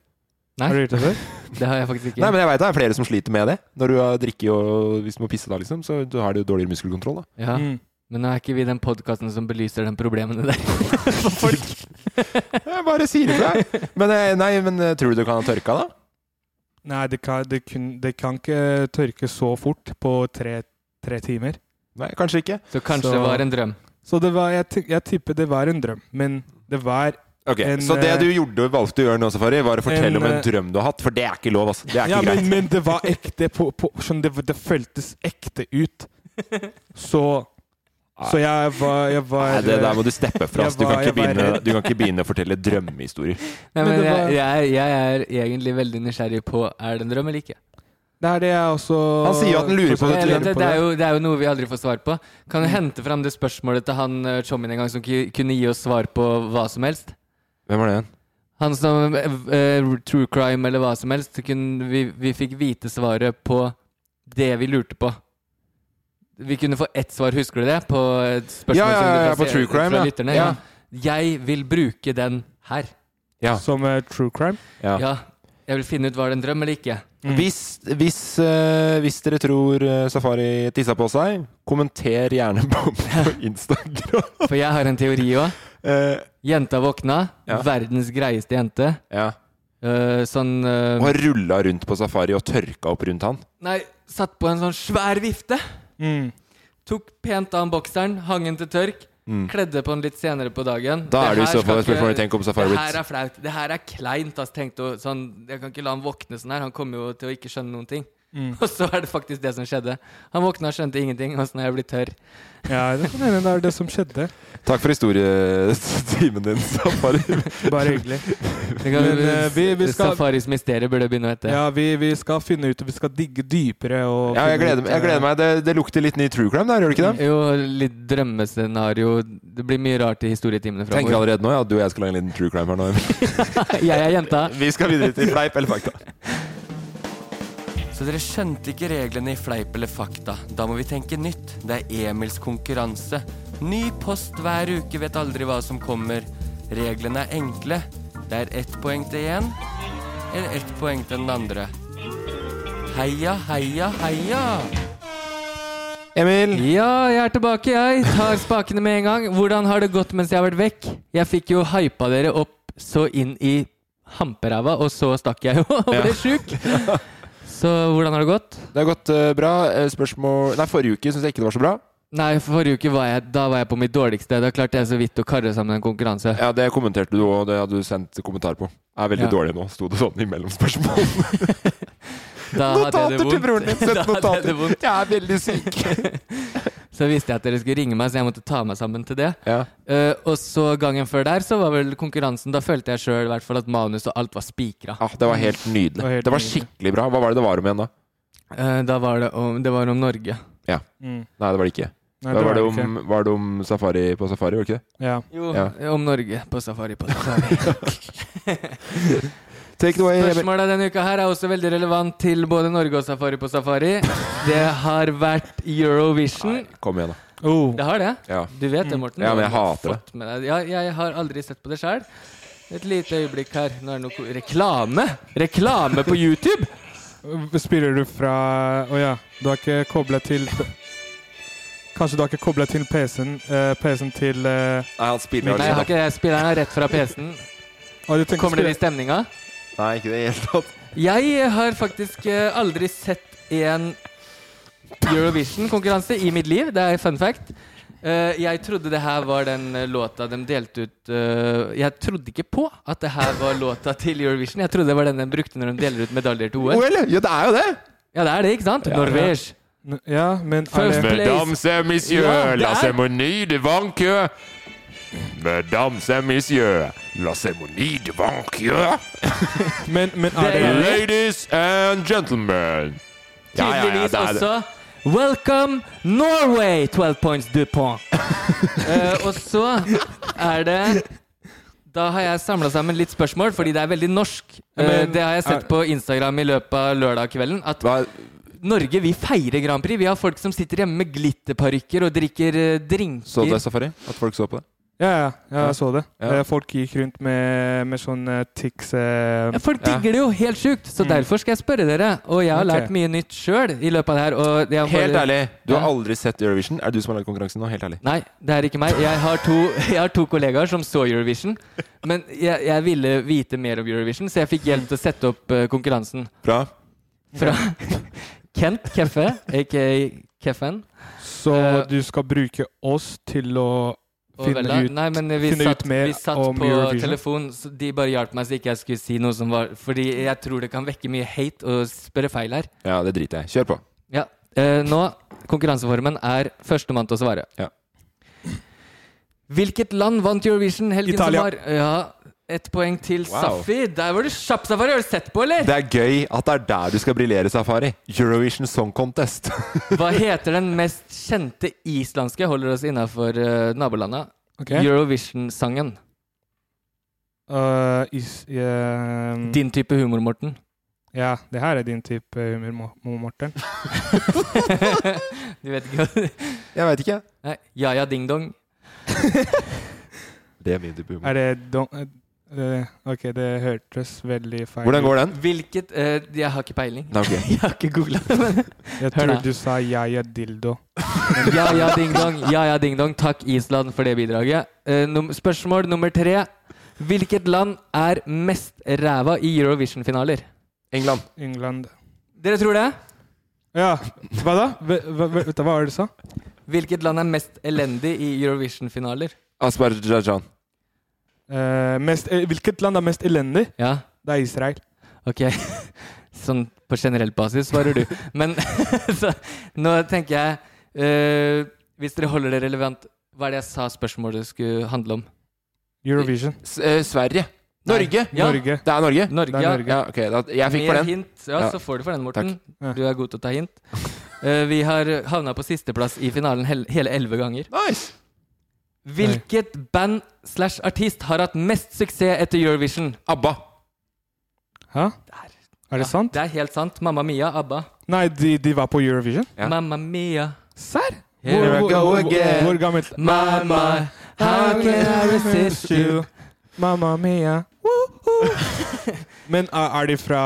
S6: Nei.
S5: Har du gjort det før?
S6: Det har jeg faktisk ikke.
S4: Nei, men jeg vet det er flere som sliter med det. Når du har drikke og hvis du må pisse da, liksom, så du har du jo dårligere muskelkontroll, da.
S6: Ja.
S5: Mm.
S6: Men nå er ikke vi den podkasten som belyser de problemene der. For folk.
S4: Jeg bare sier ifra. jeg. Men eh, nei, men eh, tror du du kan ha tørka, da?
S5: Nei, det kan, det, kun, det kan ikke tørke så fort på tre, tre timer.
S4: Nei, kanskje ikke.
S6: Så kanskje det var en drøm.
S5: Så det var, jeg, ty- jeg tipper det var en drøm, men det var
S4: Ok,
S5: en
S4: Så det
S5: eh,
S4: du gjorde og valgte å gjøre nå, Safari, var å fortelle
S5: en,
S4: om en
S5: eh,
S4: drøm du har hatt? For det er ikke lov, altså. Det er ikke
S5: ja,
S4: greit.
S5: men, men det var ekte. På, på, sånn, det, det føltes ekte ut. Så Så jeg var, jeg var
S4: Nei, det der må du steppe fra.
S5: jeg
S4: ass. Du kan,
S5: var-
S4: ikke
S5: jeg var
S4: begynne,
S5: redd.
S4: du kan ikke begynne å fortelle drømmehistorier.
S6: Nei,
S5: Men
S6: men
S5: det var-
S6: jeg, jeg, er- jeg er egentlig veldig nysgjerrig på er det en drøm eller ikke.
S5: Det er det jeg også
S4: Han sier jo at han lurer på
S6: Jeg
S4: det.
S6: vet Eh, det, det, er jo, det er jo noe vi aldri får svar på. Kan du hente fram det spørsmålet til han eh, chommien en gang som ki- kunne gi oss svar på hva som helst?
S4: Hvem var det igjen?
S6: Han som eh, eh, True crime eller hva som helst. så Kunne, vi, vi fikk vite svaret på det vi lurte på. Vi kunne få ett svar, husker du det? På et spørsmål
S4: Ja, ja,
S6: som
S4: ja,
S6: du
S4: ja, på
S6: plasserer-
S4: true crime,
S6: fra
S4: ja.
S6: lytterne.
S4: Ja.
S6: Jeg vil bruke den her.
S5: Som eh, true crime?
S6: Ja. Jeg vil finne ut var det en drøm eller ikke.
S4: Hvis, hvis, eh, hvis dere tror eh, Safari tissa på seg, kommenter gjerne på, på Instagram.
S6: For jeg har en teori òg. Jenta våkna.
S4: Eh. Ja.
S6: Verdens greieste jente. Eh, sånn eh,
S4: Og har rulla rundt på Safari og tørka opp rundt han.
S6: Nei, satt på en sånn svær vifte.
S5: Mm.
S6: Tok pent av bokseren, hang den til tørk.
S4: Mm.
S6: Kledde på den litt senere på dagen.
S4: Da er det i
S6: her
S4: så fall et
S6: skal
S4: spørsmål,
S6: ikke-
S4: tenk om Safari
S6: Det
S4: blitt-
S6: her er flaut. Det her er kleint. ass, tenkte hun. sånn, jeg kan ikke la han våkne sånn her. Han kommer jo til å ikke skjønne noen ting.
S5: Mm.
S6: Og så er det faktisk det som skjedde. Han våkna og skjønte ingenting. Åssen er jeg blitt tørr?
S5: Ja, det kan hende det er det som skjedde.
S4: Takk for historietimen din, Safari.
S5: Bare hyggelig.
S6: Det kan,
S5: Men, eh, vi- vi skal-
S6: Safaris mysterium burde begynne å hete.
S5: Ja, vi, vi skal finne ut, vi skal digge dypere. Og
S4: Ja, jeg
S5: finne ut, eh,
S4: gleder, meg- jeg gleder meg. Det, det lukter litt ny true crime der, gjør det ikke det?
S6: Jo, litt drømmescenario. Det blir mye rart i historietimene
S4: Tenker
S6: framover.
S4: allerede nå ja, at du og jeg skal lage en liten true crime her nå. Emil.
S6: Jeg er jenta.
S4: Vi skal videre til fleip eller fakta.
S10: Så dere skjønte ikke reglene i Fleip eller fakta. Da må vi tenke nytt. Det er Emils konkurranse. Ny post hver uke, vet aldri hva som kommer. Reglene er enkle. Det er ett poeng til én, eller ett poeng til den andre. Heia, heia, heia!
S4: Emil?
S6: Ja, jeg er tilbake, jeg. Tar spakene med en gang. Hvordan har det gått mens jeg har vært vekk? Jeg fikk jo hypa dere opp så inn i hamperæva, og så stakk jeg jo og ble sjuk. Så hvordan har det gått?
S4: Det har gått eh, bra. Eh, Spørsmål Nei, forrige uke syns jeg ikke det var så bra.
S6: Nei, forrige uke var jeg, da var jeg på mitt dårligste. Da klarte jeg så vidt å karre sammen en konkurranse.
S4: Ja, det kommenterte du, og det hadde du sendt kommentar på. Er veldig
S6: Ja.
S4: dårlig nå, sto det sånn imellom spørsmål.
S6: Da hadde jeg det
S4: Notater til
S6: vondt.
S4: broren min!
S6: Da hadde jeg
S4: Sett
S6: det
S4: notater!
S6: vondt.
S4: Jeg er veldig syk!
S6: Så visste jeg at dere skulle ringe meg, så jeg måtte ta meg sammen til det. Eh, og så gangen før der, så var vel konkurransen Da følte jeg sjøl hvert fall at manus og alt var spikra.
S4: Ah, det var helt nydelig. Det var skikkelig bra. Hva var det det var om igjen, da?
S6: Eh, da var det om, det var om Norge.
S4: Ja.
S6: Mm.
S4: Nei, det var det ikke.
S6: Nei,
S4: da
S6: det
S4: var,
S6: var
S4: det
S6: det
S4: om, var det om safari på safari, var det ikke det?
S6: Jo,
S4: Ja.
S6: om Norge. På safari, på safari.
S4: Take it away, Even.
S6: Spørsmålet denne uka her er også veldig relevant til både Norge og Safari på safari. Det har vært Eurovision.
S4: Kom igjen, da.
S5: Oh,
S6: Det har det?
S4: Ja.
S6: Du vet det, Morten?
S4: Mm. Ja, men jeg
S6: Du har
S4: hater det.
S6: fått med deg- Ja, jeg har aldri sett på det sjøl. Et lite øyeblikk her. Nå er det noe ko- reklame! Reklame på YouTube!
S5: Spiller du fra Å ja, du har ikke kobla til Kanskje du har ikke kobla til PC-en eh, PC-en til eh,
S4: Nei, han spiller
S6: Nei, jeg har
S5: mikrofonen.
S6: ikke det. Spilleren er rett fra PC-en.
S5: Å, du tenker
S6: Kommer dere i
S5: spille-
S6: stemninga?
S4: Nei, ikke det i det hele tatt.
S6: Jeg har faktisk eh, aldri sett en Eurovision-konkurranse i mitt liv. Det er fun fact. Eh, jeg trodde det her var den eh, låta de delte ut eh, Jeg trodde ikke på at det her var låta til Eurovision. Jeg trodde det var den de brukte når de deler ut medaljer til OL.
S4: OL, ja, det er jo det!
S6: Ja, det er det, ikke sant?
S4: Ja.
S6: Norvège.
S5: N- Ja, men er det-
S4: Mesdames et messieurs,
S6: Ja, det er-
S4: la cérémonie devant que Mesdames et messieurs, la cérémonie devant que
S5: Men, men er det
S4: Ladies and gentlemen.
S6: Tydeligvis også Welcome Norway, 12 points Dupont. Eh, og så er det Da har jeg samla sammen litt spørsmål, fordi det er veldig norsk. Eh,
S10: Men-
S6: det har jeg sett på Instagram i løpet av lørdagskvelden. At Norge, vi feirer Grand Prix. Vi har folk som sitter hjemme med glitterparykker og drikker eh, drinker.
S4: Så du det, Safari? At folk så på det?
S5: Ja, ja, ja, jeg så det.
S4: Ja.
S5: Eh, Folk gikk rundt med, med sånn eh, tics eh,
S6: Ja, folk digger det jo helt sjukt,
S4: Mm.
S6: så derfor skal jeg spørre dere. Og jeg har
S5: Ok.
S6: lært mye nytt sjøl i løpet av det her. Og jeg
S4: Helt
S6: bare-
S4: ærlig, du har
S6: Ja.
S4: aldri sett Eurovision? Er det du som har lagd konkurransen nå? Helt ærlig.
S6: Nei, det er ikke meg. Jeg har to, jeg har to kollegaer som så Eurovision. Men jeg, jeg ville vite mer om Eurovision, så jeg fikk hjelp til å sette opp eh, konkurransen.
S4: Fra?
S6: Fra Kent Keffe, aka Keffen.
S5: Så
S6: eh,
S5: du skal bruke oss til å
S6: Og
S5: finne,
S6: Vella.
S5: ut,
S6: Nei, men vi
S5: finne
S6: satt,
S5: ut mer
S6: vi satt
S5: om
S6: på
S5: Eurovision?
S6: telefon, så de bare hjalp meg så ikke jeg skulle si noe som var Fordi jeg tror det kan vekke mye hate å spørre feil her.
S4: Ja, det driter jeg i. Kjør på.
S6: Ja, eh, nå Konkurranseformen er førstemann til å svare. Hvilket land vant Eurovision helgen
S4: Italia.
S6: som var? Ja, ett poeng til
S4: Wow.
S6: Safi. Der var du kjapp, Safari. Har du sett på, eller?
S4: Det er gøy at det er der du skal briljere, Safari. Eurovision Song Contest.
S6: Hva heter den mest kjente islandske Holder oss innafor nabolandet.
S5: Ok.
S6: Eurovision-sangen.
S5: Eh, is, eh,
S4: Mm.
S6: Din type humor, Morten.
S5: Ja, det her er din type eh, humor, Mo- Mo- Morten.
S6: Du vet ikke hva
S4: Jeg veit ikke.
S6: Nei, Ja ja ding dong.
S4: Det er min type humor.
S5: Er det don... eh, ok, det hørtes veldig feil
S4: Hvordan går den?
S6: Hvilket eh, Jeg har ikke peiling.
S4: Nei, ok.
S6: Jeg har ikke googla det.
S5: Jeg
S6: Hør
S5: tror
S6: da.
S5: du sa ja, ja, dildo.
S6: Ja ja ding dong. Ja ja ding dong. Takk, Island, for det bidraget. Eh, num spørsmål nummer tre. Hvilket land er mest ræva i Eurovision-finaler?
S4: England.
S5: England.
S6: Dere tror det?
S5: Ja, hva da? Hva, hva, hva, hva var det du sa?
S6: Hvilket land er mest elendig i Eurovision-finaler?
S4: Aspergerjan.
S5: Eh, mest, eh, hvilket land er mest elendig?
S6: Ja.
S5: Det er Israel.
S6: Ok. Sånn på generell basis svarer du. Men så, nå tenker jeg eh, Hvis dere holder det relevant, hva er det jeg sa spørsmålet skulle handle om?
S5: Eurovision.
S4: S eh, Sverige.
S6: Nei.
S4: Norge.
S6: Ja.
S5: Norge.
S4: Det er Norge?
S6: Norge, ja.
S4: ja ok, da, jeg fikk
S6: Med
S4: for den.
S6: Hint, ja,
S4: Ja.
S6: så får du for den, Morten. Du er god til å ta hint. Eh, vi har havna på sisteplass i finalen hel hele elleve ganger.
S4: Nice!
S6: Hvilket band slash artist har hatt mest suksess etter Eurovision?
S4: ABBA.
S5: Hæ? Er det sant?
S6: Det er helt sant. Mamma Mia, ABBA.
S5: Nei, de, de var på Eurovision?
S6: Mamma Mia.
S5: Serr?
S6: Here
S5: Hvor-
S6: I
S5: hvor-
S6: go
S5: hvor-
S6: again.
S5: Hvor gammelt?
S6: My, my, how can I resist you?
S5: Mamma mia. Woohoo. Men uh, er de fra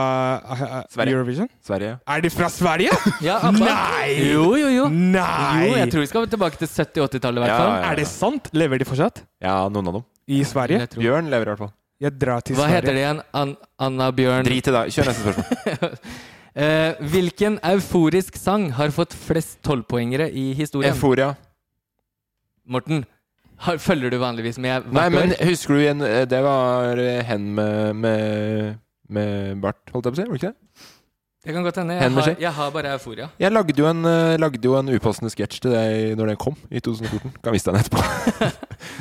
S5: uh, uh,
S4: Sverige.
S5: Eurovision?
S4: Sverige.
S5: Er de fra Sverige?
S6: Ja, ABBA.
S5: Nei!
S6: Jo, jo, jo.
S5: Nei!
S6: Jo, jeg tror vi skal tilbake til 70-80-tallet, i hvert
S4: Ja,
S6: fall.
S4: ja, ja.
S5: Er det sant? Lever de fortsatt?
S4: Ja, noen av dem.
S5: I Sverige?
S6: Jeg tror-
S4: Bjørn lever i hvert fall.
S5: Jeg drar til
S6: Hva
S5: Sverige.
S6: heter det igjen? An Anna Bjørn
S4: Drit i det. Kjør neste spørsmål.
S6: Eh, Hvilken euforisk sang har fått flest tolvpoengere i historien?
S4: Euforia.
S6: Morten, har, følger du vanligvis med hvert
S4: Nei, men
S6: år?
S4: husker du igjen eh, Det var eh, hen med, med, med bart, holdt jeg på å si? Var det ikke det?
S6: Det kan godt hende. Jeg,
S4: Hender
S6: har,
S4: seg.
S6: jeg har bare euforia.
S4: Jeg lagde jo en, eh, lagde jo en upassende sketsj til deg når den kom i 2014. Kan vise deg den etterpå.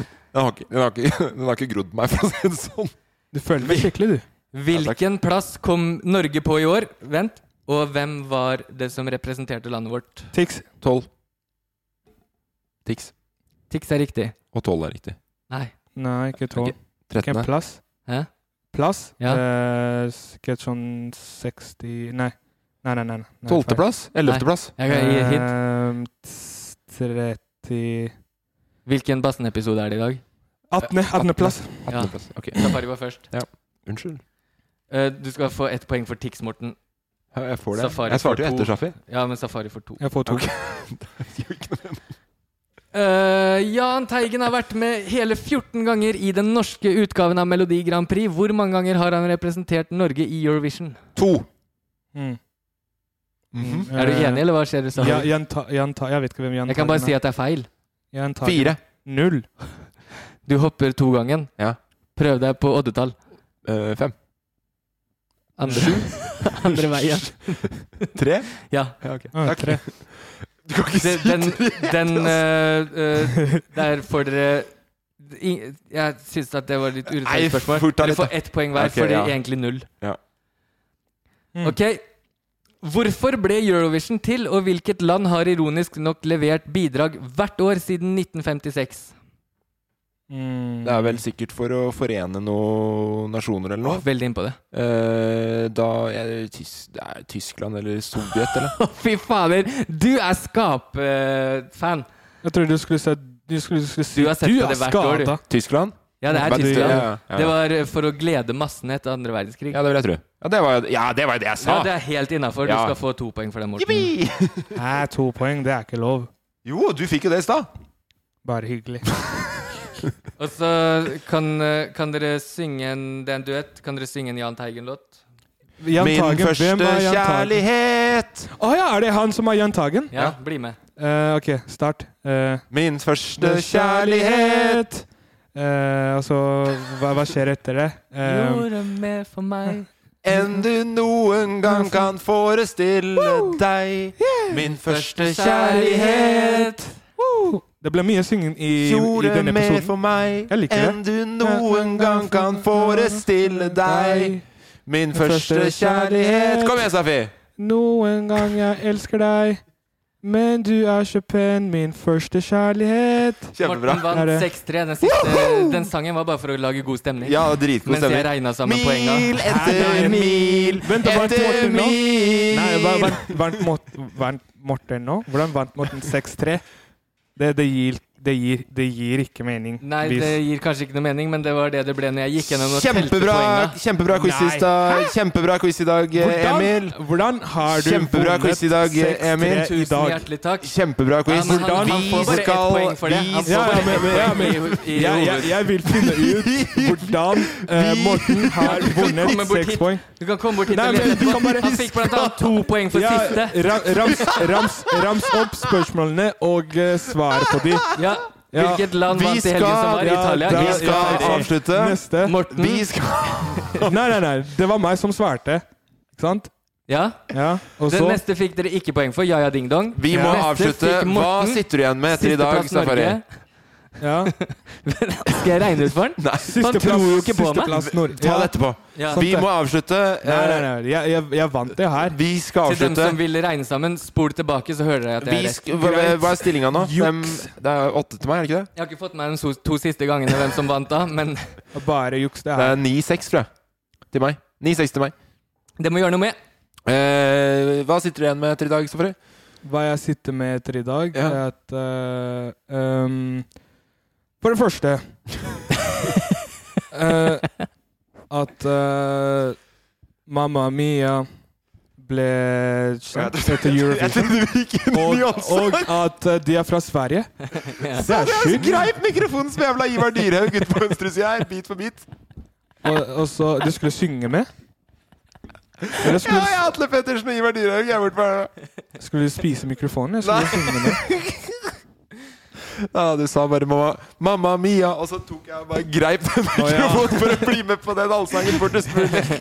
S4: den, har ikke, den, har ikke, den har ikke grodd på meg, for å si det sånn.
S5: Du føler deg skikkelig, du.
S6: Hvilken plass kom Norge på i år? Vent. Og hvem var det som representerte landet vårt?
S5: Tix.
S4: Tolv. Tix.
S6: Tix er riktig.
S4: Og tolv er riktig.
S6: Nei.
S5: Nei, ikke tolv.
S4: Trettende.
S5: Ikke en plass.
S6: Hæ?
S5: Plass?
S6: Ja.
S5: Eh, sikkert sånn 60 Nei. Nei, nei, nei. nei. nei
S4: Tolvteplass?
S5: feil.
S4: Ellevteplass? Nei, jeg kan gi hint.
S5: Ehm, s- 30
S6: Hvilken Bassen-episode er det i dag?
S5: Attende. Attendeplass.
S6: Ja.
S4: Attendeplass, ok.
S6: Safari var først.
S4: Ja. Unnskyld.
S6: Eh, du skal få ett poeng for Tix, Morten.
S4: Ja, jeg får det.
S6: Safari
S4: Jeg svarte
S6: får
S4: jo
S6: to.
S4: etter Shafi.
S6: Ja, men Safari får to.
S5: Jeg får to.
S4: Ok.
S6: Eh, Jahn Teigen har vært med hele 14 ganger i den norske utgaven av Melodi Grand Prix. Hvor mange ganger har han representert Norge i Eurovision?
S4: To. Mhm.
S5: Mm.
S6: Er du enig, eller hva skjer du sa?
S5: Eh, Ja, Jan Ta- Jan Ta- jeg vet ikke hvem Jan
S6: Jeg kan bare
S5: Tagen
S6: si at det er feil.
S5: Jan Tagen. Fire. Null.
S6: Du hopper to-gangen.
S4: Ja.
S6: Prøv deg på oddetall.
S4: Eh, fem.
S6: Andre, andre veien.
S4: Tre?
S6: Ja.
S4: ok. Ah, Takk. tre.
S6: Du kan ikke si den,
S4: tre,
S6: Den
S4: ass.
S6: eh, eh, Der får dere i, Jeg syns at det var litt
S4: Nei,
S6: urettferdig spørsmål.
S4: fort da litt,
S6: Dere får
S4: da.
S6: ett poeng hver,
S4: Ok,
S6: for det
S4: ja.
S6: er egentlig null.
S4: Ja.
S5: Mm.
S4: Mm.
S6: Ok. Hvorfor ble Eurovision til, og hvilket land har ironisk nok levert bidrag hvert år siden 1956?
S5: Mm.
S4: Det er vel sikkert for å forene noen nasjoner eller noe.
S6: Veldig innpå det.
S4: Eh, da jeg, tys, det er Tyskland eller Sovjet, eller?
S6: Fy fader, du er skapfan!
S5: Jeg trodde du skulle si Du, skulle, skulle si,
S6: Du har sett på det hvert år, du.
S5: skada.
S4: Tyskland?
S6: Ja, det er
S4: Ja, du-
S6: Tyskland.
S4: ja, ja, ja.
S6: Det var eh, for å glede massene etter andre verdenskrig.
S4: Ja, det vil jeg tro. Ja, det var jo ja, det, var jo det jeg sa!
S6: Ja, det er helt innafor. Du
S4: Ja.
S6: skal få to poeng for den, Morten.
S5: Nei, to poeng, det er ikke lov.
S4: Jo, du fikk jo det i stad!
S5: Bare hyggelig.
S6: Og så kan, eh, kan dere synge en Det er en duett. Kan dere synge en Jahn Teigen-låt?
S5: Jan
S4: Min
S5: Tagen,
S4: første
S5: hvem er Jan Tagen?
S4: kjærlighet!
S5: Å ja, er det han som er Jan Tagen?
S6: Ja, bli med.
S5: Eh, ok, start. Eh,
S4: Min første kjærlighet!
S5: Eh, og så hva, hva skjer etter det?
S4: Ehm.
S5: Eh,
S6: Gjorde mer for meg
S4: Enn du noen gang kan forestille deg. Min første kjærlighet.
S5: det ble mye synging i, i
S4: Gjorde
S5: denne
S4: mer
S5: episoden.
S4: for meg
S5: Jeg liker
S4: enn
S5: det.
S4: du noen gang kan forestille deg. Min første kjærlighet. Kom igjen, Safi!
S5: Noen gang jeg elsker deg, men du er så pen, min første kjærlighet.
S6: Morten
S5: Er
S6: vant
S5: det-
S6: 6-3. Den, siste- den sangen var bare for å lage god stemning.
S4: Ja, dritgod
S6: Mens jeg
S4: stemning.
S6: regna sammen
S4: Mil
S6: poenga.
S4: etter mil
S5: Vent, vant
S4: etter
S5: Morten nå?
S4: mil
S5: Nei, hva- vant- vant Mort- vant Morten nå? Hvordan vant Morten 6-3? Det, det, gir, det, gir, det gir ikke mening.
S6: Nei,
S5: Hvis-
S6: det gir kanskje ikke noe mening, men det var det det ble når jeg gikk gjennom og telte
S4: Kjempebra,
S6: poenga.
S4: kjempebra quiz i
S5: Nei.
S4: dag, kjempebra quiz i dag eh,
S5: Hvordan-
S4: Emil.
S5: Hvordan har du
S4: Kjempebra
S5: vunnet
S4: quiz i dag,
S5: 6-3
S4: Emil.
S5: i
S6: Tusen
S5: dag?
S6: hjertelig takk.
S4: Kjempebra
S6: Ja,
S4: quiz.
S6: men han, han får bare ett poeng for det. Han får
S4: vi
S5: Ja,
S6: bare
S5: men,
S6: ett
S5: men, ja,
S6: poeng
S5: men
S6: i, i
S5: jeg, jeg,
S6: hodet.
S5: jeg vil finne ut hvordan eh, Morten har vunnet
S6: Kommer bort
S5: seks
S6: hit.
S5: poeng.
S6: Du kan komme bort hit
S5: Nei,
S6: og
S5: men
S6: lese
S5: du kan
S6: på.
S5: bare-
S6: Han fikk blant annet to poeng for
S5: Ja,
S6: siste.
S5: ra- rams, rams, rams opp spørsmålene og eh, svar på de.
S6: Ja. Hvilket land vant i helgen som var?
S5: ja,
S6: Italia?
S5: da-
S6: Vi
S5: ja,
S6: skal
S5: ferdig.
S4: avslutte.
S5: eh, Neste.
S6: Morten.
S4: Vi skal
S5: Nei, nei, nei. Det var meg som svarte. Ikke sant?
S6: Ja.
S5: Ja, og
S6: Den
S5: så
S6: neste fikk dere ikke poeng for. Ja ja, ding dong.
S4: Vi må
S6: Neste
S4: avslutte.
S6: fikk
S4: Hva
S6: Morten.
S4: sitter du igjen med etter i dag,
S6: Sisteplass
S4: Safari?
S6: Norge.
S5: ja.
S6: Skal jeg regne ut for den? Han tror jo ikke på meg.
S5: sisteplass Norge.
S4: Ta det etterpå.
S6: Ja.
S4: Vi må avslutte.
S5: Nei, nei,
S4: Eh,
S5: nei. Jeg, jeg, jeg vant det her.
S4: Vi skal
S6: Til dem
S4: avslutte.
S6: som vil regne sammen, spol tilbake, så hører dere at jeg
S4: Vi
S6: er rett.
S4: sk hva, hva er stillinga nå? Hvem, det er åtte til meg, er det ikke det?
S6: Jeg har ikke fått med meg de so- to siste gangene hvem som vant da, men
S5: Bare juks, det
S4: Det
S5: her.
S4: er 9-6, tror jeg. Til meg. 9-6 til meg.
S6: det må gjøre noe med.
S4: Eh, hva sitter du igjen med etter i dag, Safari?
S5: Hva jeg sitter med etter i dag,
S4: Ja.
S5: er at eh, ehm, For det første eh, At eh, Mamma Mia ble kjent etter Eurovision. Og, og at eh, de er fra Sverige. Det er sjukt.
S4: Greip mikrofonen som jævla Ivar Dyrhaug ute på venstre side her, bit for bit.
S5: Og, og så Du skulle synge med? Eller
S4: Ja,
S5: skulle,
S4: jeg er Atle Pettersen og Ivar Dyrhaug. Jeg er borte på her.
S5: skulle du spise mikrofonen? Jeg skulle synge med.
S4: Ja, du sa bare 'mamma, mamma mia', og så tok jeg og bare greip den mikrofonen for å bli med på den allsangen fortest mulig.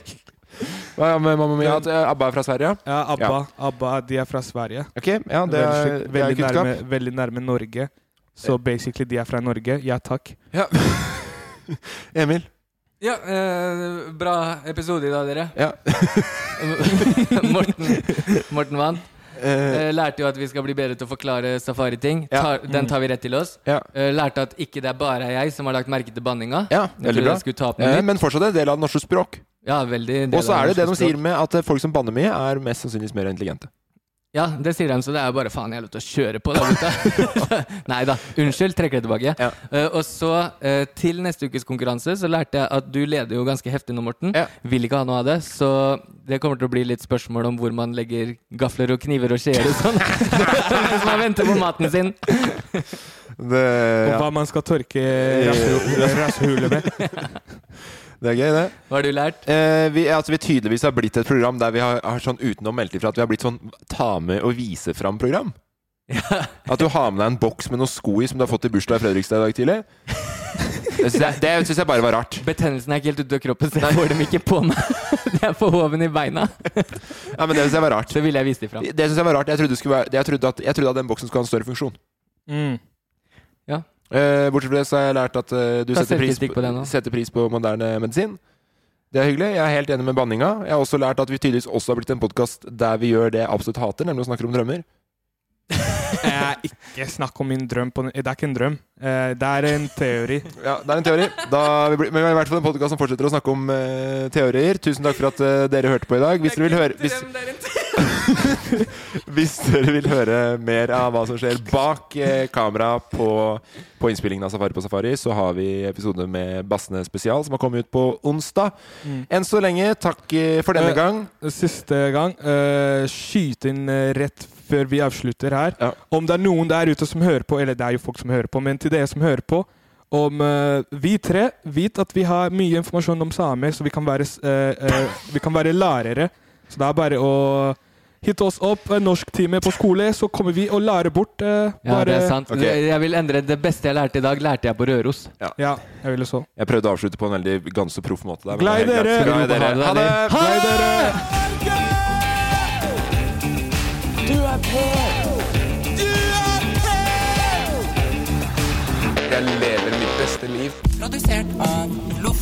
S4: Hva ja, med Mamma Mia? At, eh, ABBA er fra Sverige?
S5: Ja, ABBA, ABBA de er fra Sverige.
S4: Ok, ja, det er-
S5: veldig,
S4: det er
S5: veldig,
S4: kunnskap.
S5: nærme, veldig nærme Norge. Så basically, de er fra Norge. Ja takk.
S4: Emil?
S6: Ja, eh, bra episode i dag, dere.
S4: Ja.
S6: Morten, Morten vant. Eh, lærte jo at vi skal bli bedre til å forklare safariting.
S4: Ja.
S6: Tar- Den tar vi rett til oss.
S4: Ja.
S6: Eh, lærte at ikke det er bare jeg som har lagt merke til banninga.
S4: Ja,
S6: jeg
S4: veldig
S6: trodde
S4: bra.
S6: jeg skulle ta opp noe
S4: Eh,
S6: nytt.
S4: men fortsatt en del av det norske språk.
S6: Ja, veldig en del
S4: Og så
S6: av
S4: er det det de
S6: norsk
S4: sier
S6: språk.
S4: med at eh, folk som banner mye, er mest sannsynligvis mer intelligente.
S6: Ja, det sier de, så det er jo bare faen, jeg er lov til å kjøre på der borte. Nei da, unnskyld, trekker det tilbake. Eh, og så, eh, til neste ukes konkurranse, så lærte jeg at du leder jo ganske heftig nå, Morten. Vil ikke ha noe av det, så det kommer til å bli litt spørsmål om hvor man legger gafler og kniver og skjeer og sånn. Mens man venter på maten sin.
S5: Og
S4: ja.
S5: hva man skal tørke rasshu- rasshulet med.
S4: Det er gøy, det.
S6: Hva har du lært?
S4: Eh, vi, altså, vi tydeligvis har blitt et program der vi har, har sånn utenom meldt ifra at vi har blitt sånn ta med og vise fram-program. At du har med deg en boks med noen sko i som du har fått i bursdag i Fredrikstad i dag tidlig. Det syns jeg, det syns jeg bare var rart.
S6: Betennelsen er ikke helt ute av kroppen, så jeg får dem ikke på meg. Det er på hoven i beina.
S4: Ja, men det syns jeg var rart.
S6: Så ville jeg vise det fram.
S4: Det synes jeg var rart. Jeg trodde, det skulle være, jeg trodde, at, jeg trodde at den boksen skulle ha en større funksjon.
S5: Mm.
S6: Ja.
S4: Eh, bortsett fra det så har jeg lært at eh, du
S6: Ta
S4: setter pris,
S6: selvkritikk på det nå.
S4: setter pris på moderne medisin. Det er hyggelig. Jeg er helt enig med banninga. Jeg har også lært at vi tydeligvis også har blitt en podkast der vi gjør det jeg absolutt hater, nemlig å snakke om drømmer.
S5: Jeg ikke snakk om min drøm. På, den- det er ikke en drøm. Eh, Det er en teori.
S4: Ja, det er en teori. Da, vi blir, men vi er i hvert fall en podkast som fortsetter å snakke om eh, teorier. Tusen takk for at eh, dere hørte på i dag. Hvis dere vil høre hvis, hvis dere vil høre mer av hva som skjer bak eh, kamera på, på innspillingen av Safari på Safari, så har vi episode med Bassene spesial som har kommet ut på onsdag. Enn så lenge, takk eh, for denne
S5: Mm. Eh,
S4: gang.
S5: Siste gang. eh, skyte inn eh, rett før vi avslutter her. Om det er noen der ute som hører på, eller det er jo folk som hører på, men til dere som hører på om eh, Vi tre vet at vi har mye informasjon om samer, så vi kan være, s- eh, eh, vi kan være lærere. Så det er bare å hitte oss opp. eh, Norsktime på skole, så kommer vi og lærer bort. eh,
S6: Ja, det er
S5: bare-
S6: sant. Jeg vil endre det beste jeg lærte i dag, lærte jeg på Røros.
S5: Ja, jeg ville så.
S4: Jeg prøvde å avslutte på en veldig ganske proff måte. Der, men
S5: Glei
S4: det er helt
S5: dere!
S4: greit. Glei dere!
S6: Eh,
S4: Ha det!
S5: Glei dere!
S8: Du er på! Du er på!
S3: Jeg lever mitt beste liv.
S8: Produsert av Loff.